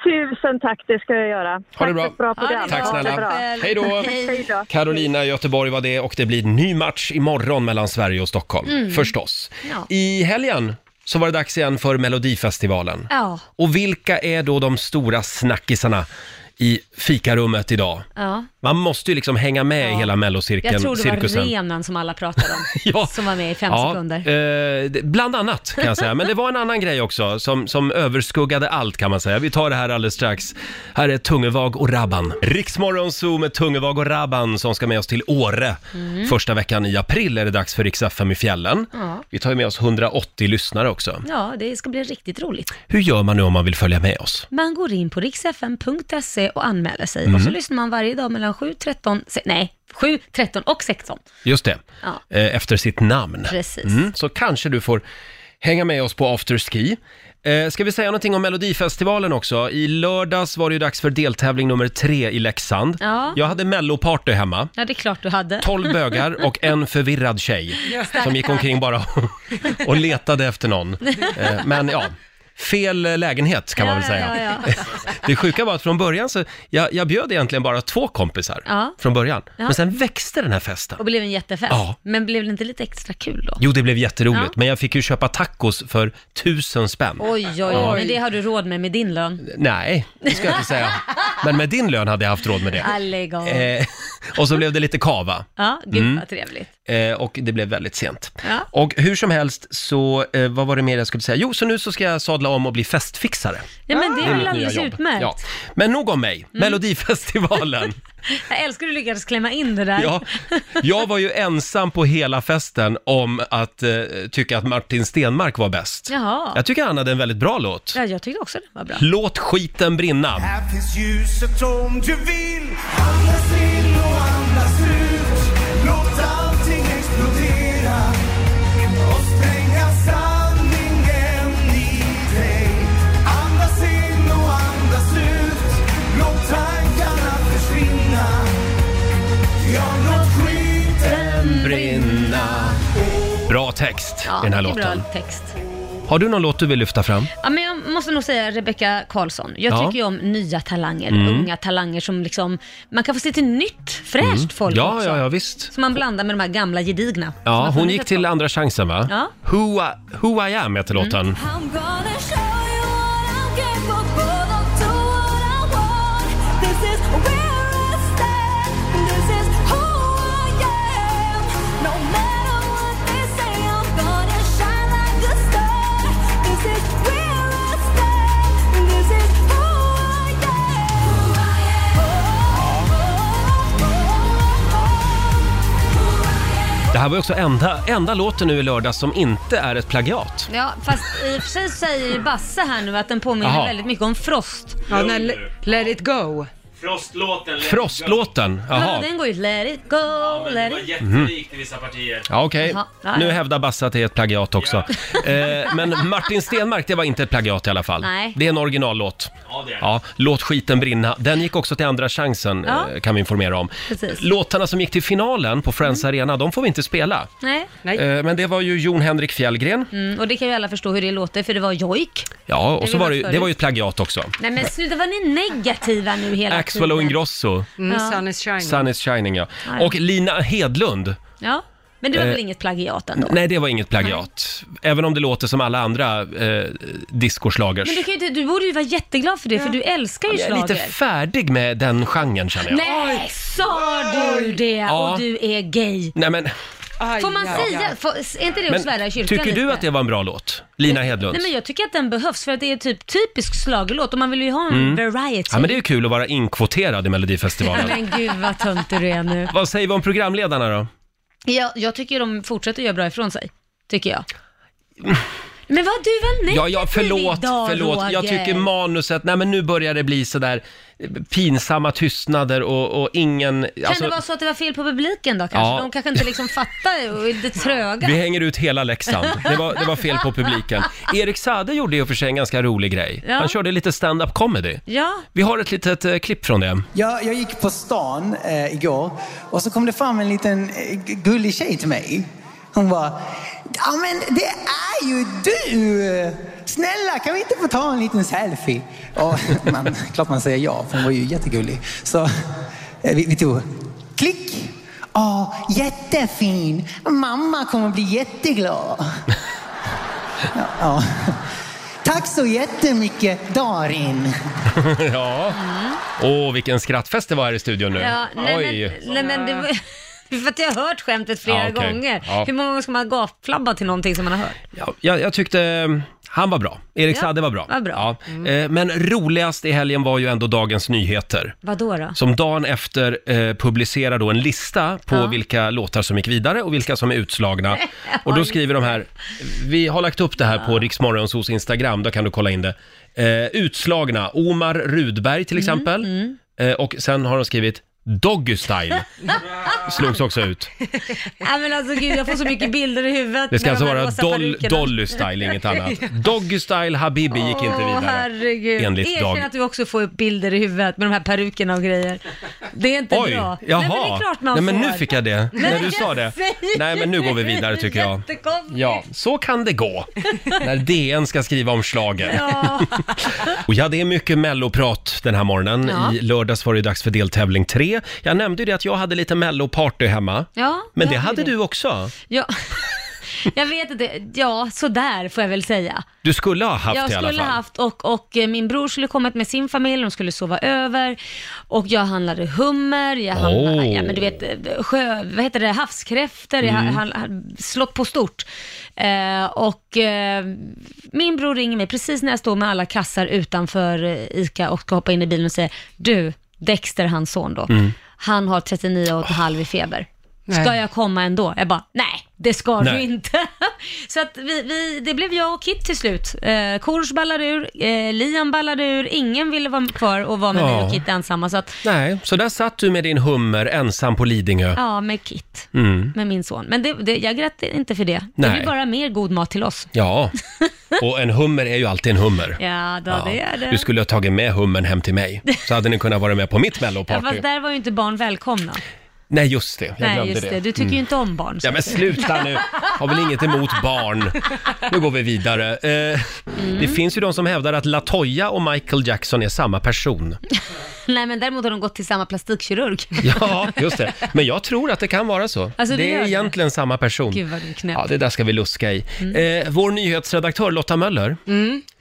Speaker 12: Tusen tack, det ska jag göra.
Speaker 1: Ha
Speaker 12: Tack
Speaker 1: det bra.
Speaker 12: för ett bra program.
Speaker 1: Tack snälla. Hej då.
Speaker 12: Hej då.
Speaker 1: Carolina i Göteborg var det och det blir ny match imorgon mellan Sverige och Stockholm,
Speaker 2: Mm.
Speaker 1: förstås.
Speaker 2: Ja.
Speaker 1: I helgen så var det dags igen för Melodifestivalen.
Speaker 2: Ja.
Speaker 1: Och vilka är då de stora snackisarna i fikarummet idag?
Speaker 2: ja.
Speaker 1: Man måste ju liksom hänga med i hela
Speaker 2: Jag tror
Speaker 1: mellocirkeln,
Speaker 2: det
Speaker 1: cirkusen.
Speaker 2: var renan som alla pratade om. Som var med i fem sekunder.
Speaker 1: eh, det- bland annat kan jag säga. Men det var en annan grej också som, som överskuggade allt kan man säga. Vi tar det här alldeles strax. Här är Tungevag och Rabban. Riksmorgon Zoo med Tungevag och Rabban som ska med oss till Åre.
Speaker 2: Mm.
Speaker 1: Första veckan i april är det dags för Rix FM i fjällen.
Speaker 2: Ja.
Speaker 1: Vi tar ju med oss 180 lyssnare också.
Speaker 2: ja, det ska bli riktigt roligt.
Speaker 1: Hur gör man nu om man vill följa med oss?
Speaker 2: Man går in på riksfn.se och anmäler sig
Speaker 1: Mm.
Speaker 2: och så lyssnar man varje dag mellan 7, 13, se- nej, 7, 13 och 16.
Speaker 1: Just det,
Speaker 2: Ja.
Speaker 1: eh, efter sitt namn. Mm.
Speaker 2: Precis.
Speaker 1: så kanske du får hänga med oss på afterski. Eh, ska vi säga någonting om Melodifestivalen också? I lördags var det ju dags för deltävling nummer tre i Leksand.
Speaker 2: Ja.
Speaker 1: Jag hade melloparty hemma.
Speaker 2: Ja, det är klart du hade.
Speaker 1: Tolv bögar och en förvirrad tjej som gick omkring bara och letade efter någon. Eh, men ja, fel eh, lägenhet kan man väl säga.
Speaker 2: Ja, ja, ja.
Speaker 1: Det sjuka var att från början så, jag, jag bjöd egentligen bara två kompisar
Speaker 2: Ja.
Speaker 1: från början.
Speaker 2: Ja.
Speaker 1: Men sen växte den här festen.
Speaker 2: Och blev en jättefest.
Speaker 1: Ja.
Speaker 2: Men blev det inte lite extra kul då?
Speaker 1: Jo, det blev jätteroligt,
Speaker 2: Ja.
Speaker 1: men jag fick ju köpa tacos för tusen spänn.
Speaker 2: Oj, oj, oj,
Speaker 1: Ja.
Speaker 2: men det har du råd med med din lön.
Speaker 1: Eh. Nej, det ska jag inte säga. Men med din lön hade jag haft råd med det.
Speaker 2: Lägg av.
Speaker 1: Eh, och så blev det lite kava.
Speaker 2: Ja, gud
Speaker 1: Mm.
Speaker 2: vad trevligt.
Speaker 1: Eh, och det blev väldigt sent.
Speaker 2: Ja.
Speaker 1: Och hur som helst så, eh, vad var det mer jag skulle säga? Jo, så nu så ska jag sadla om och bli festfixare.
Speaker 2: Ja, men det är väl
Speaker 1: Ah. mitt nya
Speaker 2: alldeles
Speaker 1: jobb.
Speaker 2: utmärkt. Mm.
Speaker 1: Ja. Men nog om mig, Melodifestivalen.
Speaker 2: Jag älskar hur du lyckades klämma in det där.
Speaker 1: Ja, jag var ju ensam på hela festen om att eh, tycka att Martin Stenmark var bäst.
Speaker 2: Jaha.
Speaker 1: Jag tycker han hade en väldigt bra låt.
Speaker 2: ja, jag tyckte också det var bra.
Speaker 1: Låt skiten brinna.
Speaker 6: Här finns ljuset om du vill Andas in och andas ut Låt allting explodera och spränga sanningen i dig Andas in och andas ut Låt tankarna försvinna Ja, låt skiten
Speaker 1: brinna Bra text i
Speaker 2: Ja,
Speaker 1: den här
Speaker 2: mycket
Speaker 1: låten.
Speaker 2: bra text.
Speaker 1: Har du någon låt du vill lyfta fram?
Speaker 2: Ja, men jag måste nog säga Rebecca Karlsson. Jag
Speaker 1: Ja.
Speaker 2: tycker ju om nya talanger,
Speaker 1: Mm.
Speaker 2: unga talanger som liksom, man kan få se till nytt, fräscht
Speaker 1: Mm.
Speaker 2: folk
Speaker 1: ja,
Speaker 2: också.
Speaker 1: Ja, ja, visst.
Speaker 2: Som man blandar med de här gamla gedigna. som har
Speaker 1: Ja, hon
Speaker 2: funnits
Speaker 1: gick
Speaker 2: ett
Speaker 1: till
Speaker 2: tag.
Speaker 1: Andra chansen va?
Speaker 2: Ja. Mm.
Speaker 1: Who, I, Who I am heter låten.
Speaker 7: I'm gonna show you what I'm capable of, do what I want. This is where I stand. This is who I am. No matter what they say, I'm gonna shine like a star. This is where I stand. This is who I am. Who I am. Oh,
Speaker 1: Det här var ju också enda, enda låten nu i lördags som inte är ett plagiat.
Speaker 2: Ja, fast i och för sig säger ju Basse här nu att den påminner
Speaker 1: Jaha.
Speaker 2: väldigt mycket om Frost.
Speaker 3: Ja, den här Le- Let it go.
Speaker 10: Frostlåten.
Speaker 1: Frostlåten,
Speaker 2: Ja,
Speaker 1: jaha.
Speaker 2: den går ju let it go, let it go.
Speaker 10: i vissa partier.
Speaker 1: Ja, okej.
Speaker 2: Jaha, ja,
Speaker 1: Nu
Speaker 2: ja.
Speaker 1: hävdar Basse att det är ett plagiat också. Eh, men Martin Stenmark, det var inte ett plagiat i alla fall.
Speaker 2: Nej.
Speaker 1: Det är en originallåt.
Speaker 10: Ja, det är det.
Speaker 1: Ja, Låt skiten brinna. Den gick också till Andra chansen,
Speaker 2: Ja.
Speaker 1: eh, kan vi informera om.
Speaker 2: Precis. Mm.
Speaker 1: Låtarna som gick till finalen på Friends Arena, de får vi inte spela.
Speaker 2: Nej.
Speaker 1: Eh, Men det var ju Jon Henrik Fjällgren.
Speaker 2: Mm, och det kan ju alla förstå hur det låter, för det var jojk.
Speaker 1: Ja,
Speaker 2: Det
Speaker 1: och så
Speaker 2: vi
Speaker 1: var
Speaker 2: hört
Speaker 1: det, ju- det
Speaker 2: förut.
Speaker 1: var ju ett plagiat också.
Speaker 2: Nej men sluta, var ni negativa nu hela
Speaker 1: Axwell och
Speaker 2: tiden?
Speaker 1: Ingrosso.
Speaker 2: Mm, Ja. sun
Speaker 3: is shining.
Speaker 1: Sun is shining, ja.
Speaker 2: Ja, ja.
Speaker 1: Och Lina Hedlund.
Speaker 2: Ja, men det var
Speaker 1: Eh,
Speaker 2: väl inget plagiat ändå?
Speaker 1: Nej, det var inget plagiat. Även om det låter som alla andra eh, discoslagers.
Speaker 2: Men du, kan ju inte, du borde ju vara jätteglad för det, för du älskar ju
Speaker 1: Jag är
Speaker 2: schlager.
Speaker 1: lite färdig med den genren känner jag.
Speaker 2: Nej, sa du det?
Speaker 1: Ja.
Speaker 2: Och du är gay.
Speaker 1: Nej men,
Speaker 2: Får man
Speaker 3: aj,
Speaker 2: säga,
Speaker 3: aj.
Speaker 2: får, är inte det att svära i
Speaker 1: men
Speaker 2: kyrkan
Speaker 1: tycker
Speaker 2: lite?
Speaker 1: du att det var en bra låt? Lina Hedlund?
Speaker 2: Nej men jag tycker att den behövs för att det är typ typisk schlagerlåt och man vill ju ha en
Speaker 1: Mm.
Speaker 2: variety.
Speaker 1: Ja men det är ju kul att vara inkvoterad i
Speaker 2: Ja,
Speaker 1: Melodifestivalen.
Speaker 2: men gud vad töntig du är nu.
Speaker 1: Vad säger vi om programledarna då?
Speaker 2: Jag, jag tycker de fortsätter göra bra ifrån sig, tycker jag. Men vad du var negativ
Speaker 1: Ja, ja, förlåt,
Speaker 2: idag,
Speaker 1: förlåt. Jag
Speaker 2: Roger.
Speaker 1: tycker manuset, nej men nu börjar det bli sådär pinsamma tystnader och, och ingen...
Speaker 2: Kan
Speaker 1: alltså,
Speaker 2: det vara så att det var fel på publiken då kanske?
Speaker 1: Ja.
Speaker 2: De kanske inte liksom fattar och är lite tröga.
Speaker 1: Vi hänger ut hela Leksand. Det var, det var fel på publiken. Erik Sade gjorde i och för sig en ganska rolig grej.
Speaker 2: Ja.
Speaker 1: Han körde lite stand-up comedy.
Speaker 2: Ja.
Speaker 1: Vi har ett litet eh, klipp från det.
Speaker 5: Jag, jag gick på stan eh, igår och så kom det fram en liten eh, gu- gullig tjej till mig. Hon bara, ja men det är ju du! Snälla kan vi inte få ta en liten selfie? Och man, klart man säger ja, för hon var ju jättegullig. Så eh, vi, vi tog, klick! Åh, jättefin! Mamma kommer bli jätteglad. ja, ja. Tack så jättemycket, Darin.
Speaker 1: ja. Åh, vilken skrattfest det var här i studion nu.
Speaker 2: Ja, nej,
Speaker 1: Oj.
Speaker 2: Men, nej, men det var... För att jag har hört skämtet flera
Speaker 1: Ja, okej.
Speaker 2: gånger.
Speaker 1: Ja.
Speaker 2: Hur många gånger ska man gapflabba till någonting som man har hört?
Speaker 1: Ja, jag, jag tyckte eh, han var bra. Erik
Speaker 2: Ja,
Speaker 1: Saade var bra.
Speaker 2: var bra. Mm.
Speaker 1: Ja. Eh, Men roligast i helgen var ju ändå Dagens Nyheter.
Speaker 2: Vad då? då?
Speaker 1: Som dagen efter eh, publicerar då en lista på
Speaker 2: Ja.
Speaker 1: vilka låtar som gick vidare och vilka som är utslagna. Och då skriver de här, vi har lagt upp det här på Riksmorgonsos Instagram, då kan du kolla in det. Eh, utslagna, Omar Rudberg
Speaker 2: Mm,
Speaker 1: till exempel. Eh, och sen har de skrivit Doggy Style, slogs också ut.
Speaker 2: Nej men alltså gud, jag får så mycket bilder i huvudet.
Speaker 1: Det ska
Speaker 2: med
Speaker 1: alltså
Speaker 2: de här
Speaker 1: vara
Speaker 2: rosa
Speaker 1: doll,
Speaker 2: perukerna.
Speaker 1: Dolly Style, inget annat. Doggy Style Habibi gick inte
Speaker 2: Åh,
Speaker 1: vidare.
Speaker 2: herregud.
Speaker 1: enligt
Speaker 2: Erkänn
Speaker 1: Dag.
Speaker 2: att du också får upp bilder i huvudet med de här perukerna och grejer. Det är inte
Speaker 1: Oj,
Speaker 2: bra.
Speaker 1: jaha.
Speaker 2: Nej, men det är klart man
Speaker 1: Nej, men
Speaker 2: får.
Speaker 1: nu fick jag det.
Speaker 2: Nej,
Speaker 1: När du sa det.
Speaker 2: säger
Speaker 1: Nej, men nu går vi vidare, tycker jag.
Speaker 2: Jättekonstigt.
Speaker 1: Ja, så kan det gå när DN ska skriva om slagen.
Speaker 2: Ja.
Speaker 1: Och ja, det är mycket melloprat den här morgonen.
Speaker 2: Ja.
Speaker 1: I lördags var det dags för deltävling 3. Jag nämnde ju det att jag hade lite melloparty hemma.
Speaker 2: Ja,
Speaker 1: Men
Speaker 2: jag
Speaker 1: det
Speaker 2: hade
Speaker 1: hade
Speaker 2: det.
Speaker 1: du också.
Speaker 2: Ja. Jag vet inte, ja sådär får jag väl säga.
Speaker 1: Du skulle ha haft
Speaker 2: jag
Speaker 1: i alla
Speaker 2: skulle
Speaker 1: fall.
Speaker 2: haft och, och eh, min bror skulle kommit med sin familj, de skulle sova över och jag handlade hummer, jag handlade,
Speaker 7: Oh.
Speaker 2: ja men du vet, eh, sjö, vad heter det, havskräftor, jag
Speaker 7: Mm.
Speaker 2: han, han, slått på stort. Eh, och eh, min bror ringer mig precis när jag står med alla kassar utanför eh, ICA och ska hoppa in i bilen och säger, du, Dexter, hans son då,
Speaker 7: Mm.
Speaker 2: han har 39,5 i feber. Ska
Speaker 7: Nej.
Speaker 2: jag komma ändå? Jag bara, nej, det ska du
Speaker 7: Nej.
Speaker 2: inte. Så att vi, vi, det blev jag och Kit till slut. Eh, Korosh ballade ur, eh, Liam ballade ur, ingen ville vara kvar och vara med
Speaker 1: Ja.
Speaker 2: mig och Kit ensamma. Så att,
Speaker 1: Nej, så där satt du med din hummer ensam på Lidingö.
Speaker 2: ja, med Kit,
Speaker 1: Mm.
Speaker 2: med min son. Men det, det, jag grät inte för det. Det
Speaker 1: Nej.
Speaker 2: blir bara mer god mat till oss.
Speaker 1: Ja, och en hummer är ju alltid en hummer.
Speaker 2: Ja, då, det är det.
Speaker 1: Du skulle ha tagit med hummern hem till mig, så hade ni kunnat vara med på mitt
Speaker 2: Ja,
Speaker 1: melloparty.
Speaker 2: fast där var ju inte barn välkomna.
Speaker 1: Nej, just det. Jag
Speaker 2: nej,
Speaker 1: glömde
Speaker 2: just det. Du tycker
Speaker 1: Mm.
Speaker 2: ju inte om barn. så
Speaker 1: Ja, men
Speaker 2: att säga.
Speaker 1: sluta nu. Har väl inget emot barn. Nu går vi vidare. Eh,
Speaker 2: Mm.
Speaker 1: Det finns ju de som hävdar att Latoya och Michael Jackson är samma person.
Speaker 2: nej, men däremot har de gått till samma plastikkirurg.
Speaker 1: Ja, just det. Men jag tror att det kan vara så.
Speaker 2: Alltså, det
Speaker 1: det
Speaker 2: gör
Speaker 1: är
Speaker 2: det.
Speaker 1: egentligen samma person.
Speaker 2: Gud vad du är knäpp. Mm.
Speaker 1: Ja, det där ska vi luska i. Eh, vår nyhetsredaktör Lotta Möller,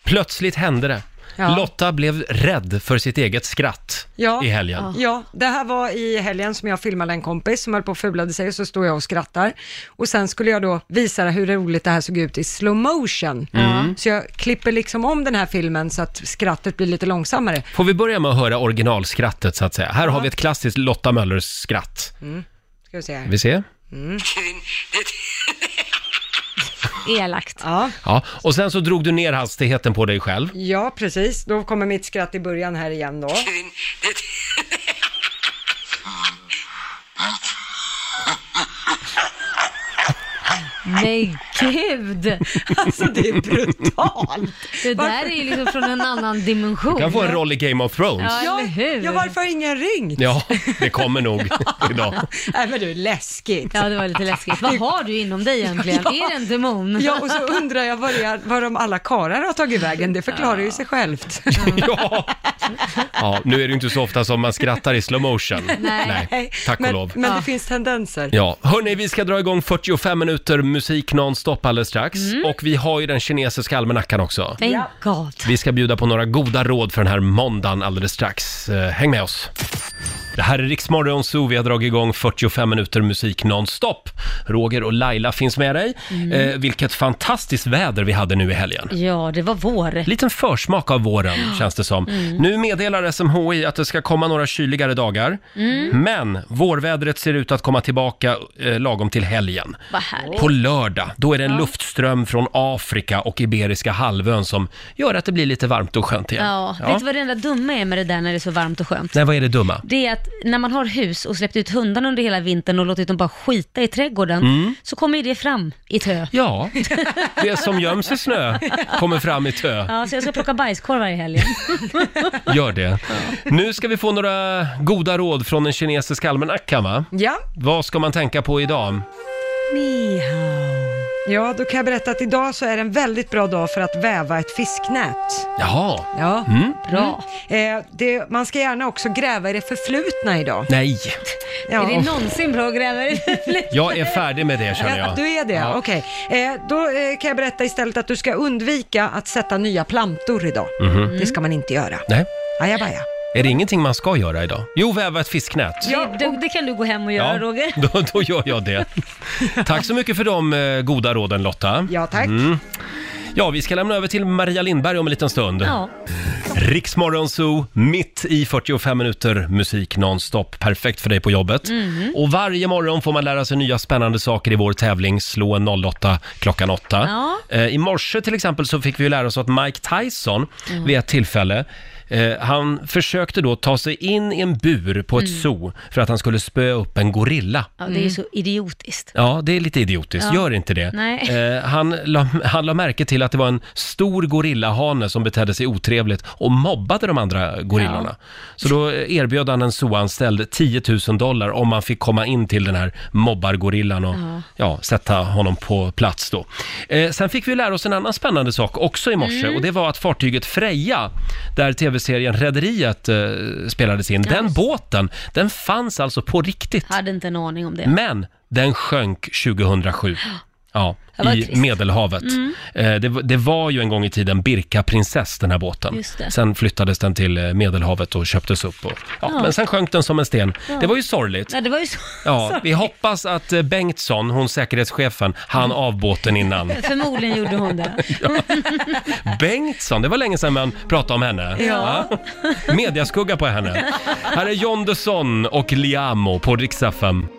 Speaker 1: plötsligt hände det.
Speaker 3: Ja.
Speaker 1: Lotta blev rädd för sitt eget skratt i helgen.
Speaker 3: Ja, det här var i helgen som jag filmade en kompis som höll på och fulade sig och så stod jag och skrattar. Och sen skulle jag då visa hur roligt det här såg ut i slow motion.
Speaker 1: Mm.
Speaker 3: Så jag klipper liksom om den här filmen så att skrattet blir lite långsammare.
Speaker 1: Får vi börja med att höra originalskrattet så att säga? Här har vi ett klassiskt Lotta Möllers skratt.
Speaker 3: Mm. Ska vi se här.
Speaker 1: Vi ser.
Speaker 2: Elakt.
Speaker 3: Ja.
Speaker 1: Ja, och sen så drog du ner hastigheten på dig själv.
Speaker 3: ja, precis. Då kommer mitt skratt i början här igen då.
Speaker 2: Men gud!
Speaker 3: Alltså det är brutalt!
Speaker 2: Det där är ju liksom från en annan dimension.
Speaker 1: Du kan få en roll i Game of Thrones.
Speaker 2: Ja, eller hur?
Speaker 3: Ja, varför har ingen ringt?
Speaker 1: Ja, det kommer nog idag.
Speaker 3: Nej men du, läskigt.
Speaker 2: Ja, det var lite läskigt. Vad har du inom dig egentligen? Är det en demon?
Speaker 3: Ja, och så undrar jag var, jag, var de alla karlar har tagit vägen. Det förklarar ju sig självt.
Speaker 1: Ja, nu är det ju inte så ofta som man skrattar i slow motion. tack och
Speaker 3: men,
Speaker 1: lov.
Speaker 3: Men det finns tendenser.
Speaker 1: Ja, hörni, vi ska dra igång 45 minuter musik nonstop alldeles strax.
Speaker 3: Mm.
Speaker 1: Och vi har ju den kinesiska almanackan också.
Speaker 2: Thank God.
Speaker 1: Vi ska bjuda på några goda råd för den här måndagen alldeles strax. Eh, Häng med oss! Det här är Riksmorgon Zoo. Vi har dragit igång 45 minuter musik nonstop. Roger och Laila finns med dig.
Speaker 2: Mm.
Speaker 1: Eh, vilket fantastiskt väder vi hade nu i helgen.
Speaker 2: Ja, det var vår.
Speaker 1: Liten försmak av våren känns det som.
Speaker 2: Mm.
Speaker 1: Nu meddelar SMHI att det ska komma några kyligare dagar.
Speaker 2: Mm.
Speaker 1: Men vårvädret ser ut att komma tillbaka eh, lagom till helgen.
Speaker 2: Vad härligt.
Speaker 1: På lördag, då är det en
Speaker 2: Ja.
Speaker 1: luftström från Afrika och Iberiska halvön som gör att det blir lite varmt och skönt igen.
Speaker 2: Ja, vet du vad det enda dumma är med det där när det är så varmt och skönt?
Speaker 1: Nej, vad är det dumma?
Speaker 2: Det är att när man har hus och släppt ut hundarna under hela vintern och låtit dem bara skita i trädgården,
Speaker 1: Mm.
Speaker 2: så kommer ju det fram i tö.
Speaker 1: Ja, det som göms i snö kommer fram i tö.
Speaker 2: Ja, så jag ska plocka bajskorvar i helgen.
Speaker 1: Gör det. Nu ska vi få några goda råd från den kinesiska almanackan, va?
Speaker 3: Ja.
Speaker 1: Vad ska man tänka på idag?
Speaker 3: Ni Ja, då kan jag berätta att idag så är det en väldigt bra dag för att väva ett fisknät.
Speaker 1: Jaha.
Speaker 3: Ja.
Speaker 1: Mm.
Speaker 3: Mm. Eh, det, man ska gärna också gräva i det förflutna idag.
Speaker 1: Nej,
Speaker 3: Ja.
Speaker 2: Är det någonsin bra att gräva i det?
Speaker 1: jag är färdig med det känner jag.
Speaker 3: Du är det?
Speaker 1: Ja.
Speaker 3: Okej. Eh, då eh, kan jag berätta istället att du ska undvika att sätta nya plantor idag.
Speaker 1: Mhm.
Speaker 3: Det ska man inte göra.
Speaker 1: Nej,
Speaker 3: Ajabaja.
Speaker 1: är det ingenting man ska göra idag? Jo, väva ett fisknät.
Speaker 2: det, det kan du gå hem och göra, Roger.
Speaker 1: Då, då gör jag det. Tack så mycket för de eh, goda råden Lotta. Mm.
Speaker 3: Ja, tack.
Speaker 1: Ja, vi ska lämna över till Maria Lindberg om en liten stund.
Speaker 2: Ja.
Speaker 1: Riksmorgon Zoo, mitt i 45 minuter musik nonstop. Perfekt för dig på jobbet.
Speaker 2: Mhm.
Speaker 1: Och varje morgon får man lära sig nya spännande saker i vår tävling Slå en 08 klockan 8.
Speaker 2: Ja.
Speaker 1: Eh, I morse till exempel så fick vi ju lära oss att Mike Tyson
Speaker 2: Ja.
Speaker 1: vid ett tillfälle eh, han försökte då ta sig in i en bur på ett
Speaker 2: Mm.
Speaker 1: zoo för att han skulle spöa upp en gorilla.
Speaker 2: Ja, det är ju så idiotiskt.
Speaker 1: Ja, det är lite idiotiskt.
Speaker 2: Ja.
Speaker 1: Gör inte det.
Speaker 2: Nej.
Speaker 1: Eh, han, la, han la märke till att det var en stor gorillahane som betedde sig otrevligt och mobbade de andra gorillorna. Så då erbjöd han en zooanställd 10 000 dollar om man fick komma in till den här mobbargorillan och ja.
Speaker 2: Ja.
Speaker 1: sätta honom på plats då. Eh, sen fick vi lära oss en annan spännande sak också i morse
Speaker 2: Mm.
Speaker 1: och det var att fartyget Freja, där tv-serien Rederiet eh, spelades in, den båten, den fanns alltså på riktigt.
Speaker 2: Hade inte en aning om det.
Speaker 1: Men den sjönk 2007. Ja,
Speaker 2: Det var
Speaker 1: i
Speaker 2: trist.
Speaker 1: Medelhavet.
Speaker 2: Mm.
Speaker 1: Eh, Det, var- det var ju en gång i tiden Birka prinsess, den här båten.
Speaker 2: Just det.
Speaker 1: Sen flyttades den till eh, Medelhavet och köptes upp. Och, ja,
Speaker 2: Ja.
Speaker 1: Men sen sjönk den som en sten.
Speaker 2: Ja.
Speaker 1: Det var ju sorgligt.
Speaker 2: Nej, det var ju så.
Speaker 1: Ja, vi hoppas att eh, Bengtsson, hon säkerhetschefen, han
Speaker 2: Mm.
Speaker 1: av båten innan.
Speaker 2: Förmodligen gjorde hon det.
Speaker 1: Bengtsson, det var länge sedan man pratade om henne.
Speaker 2: Ja.
Speaker 1: Mediaskugga på henne. Här är John Dusson och Liamo på Riksaffem.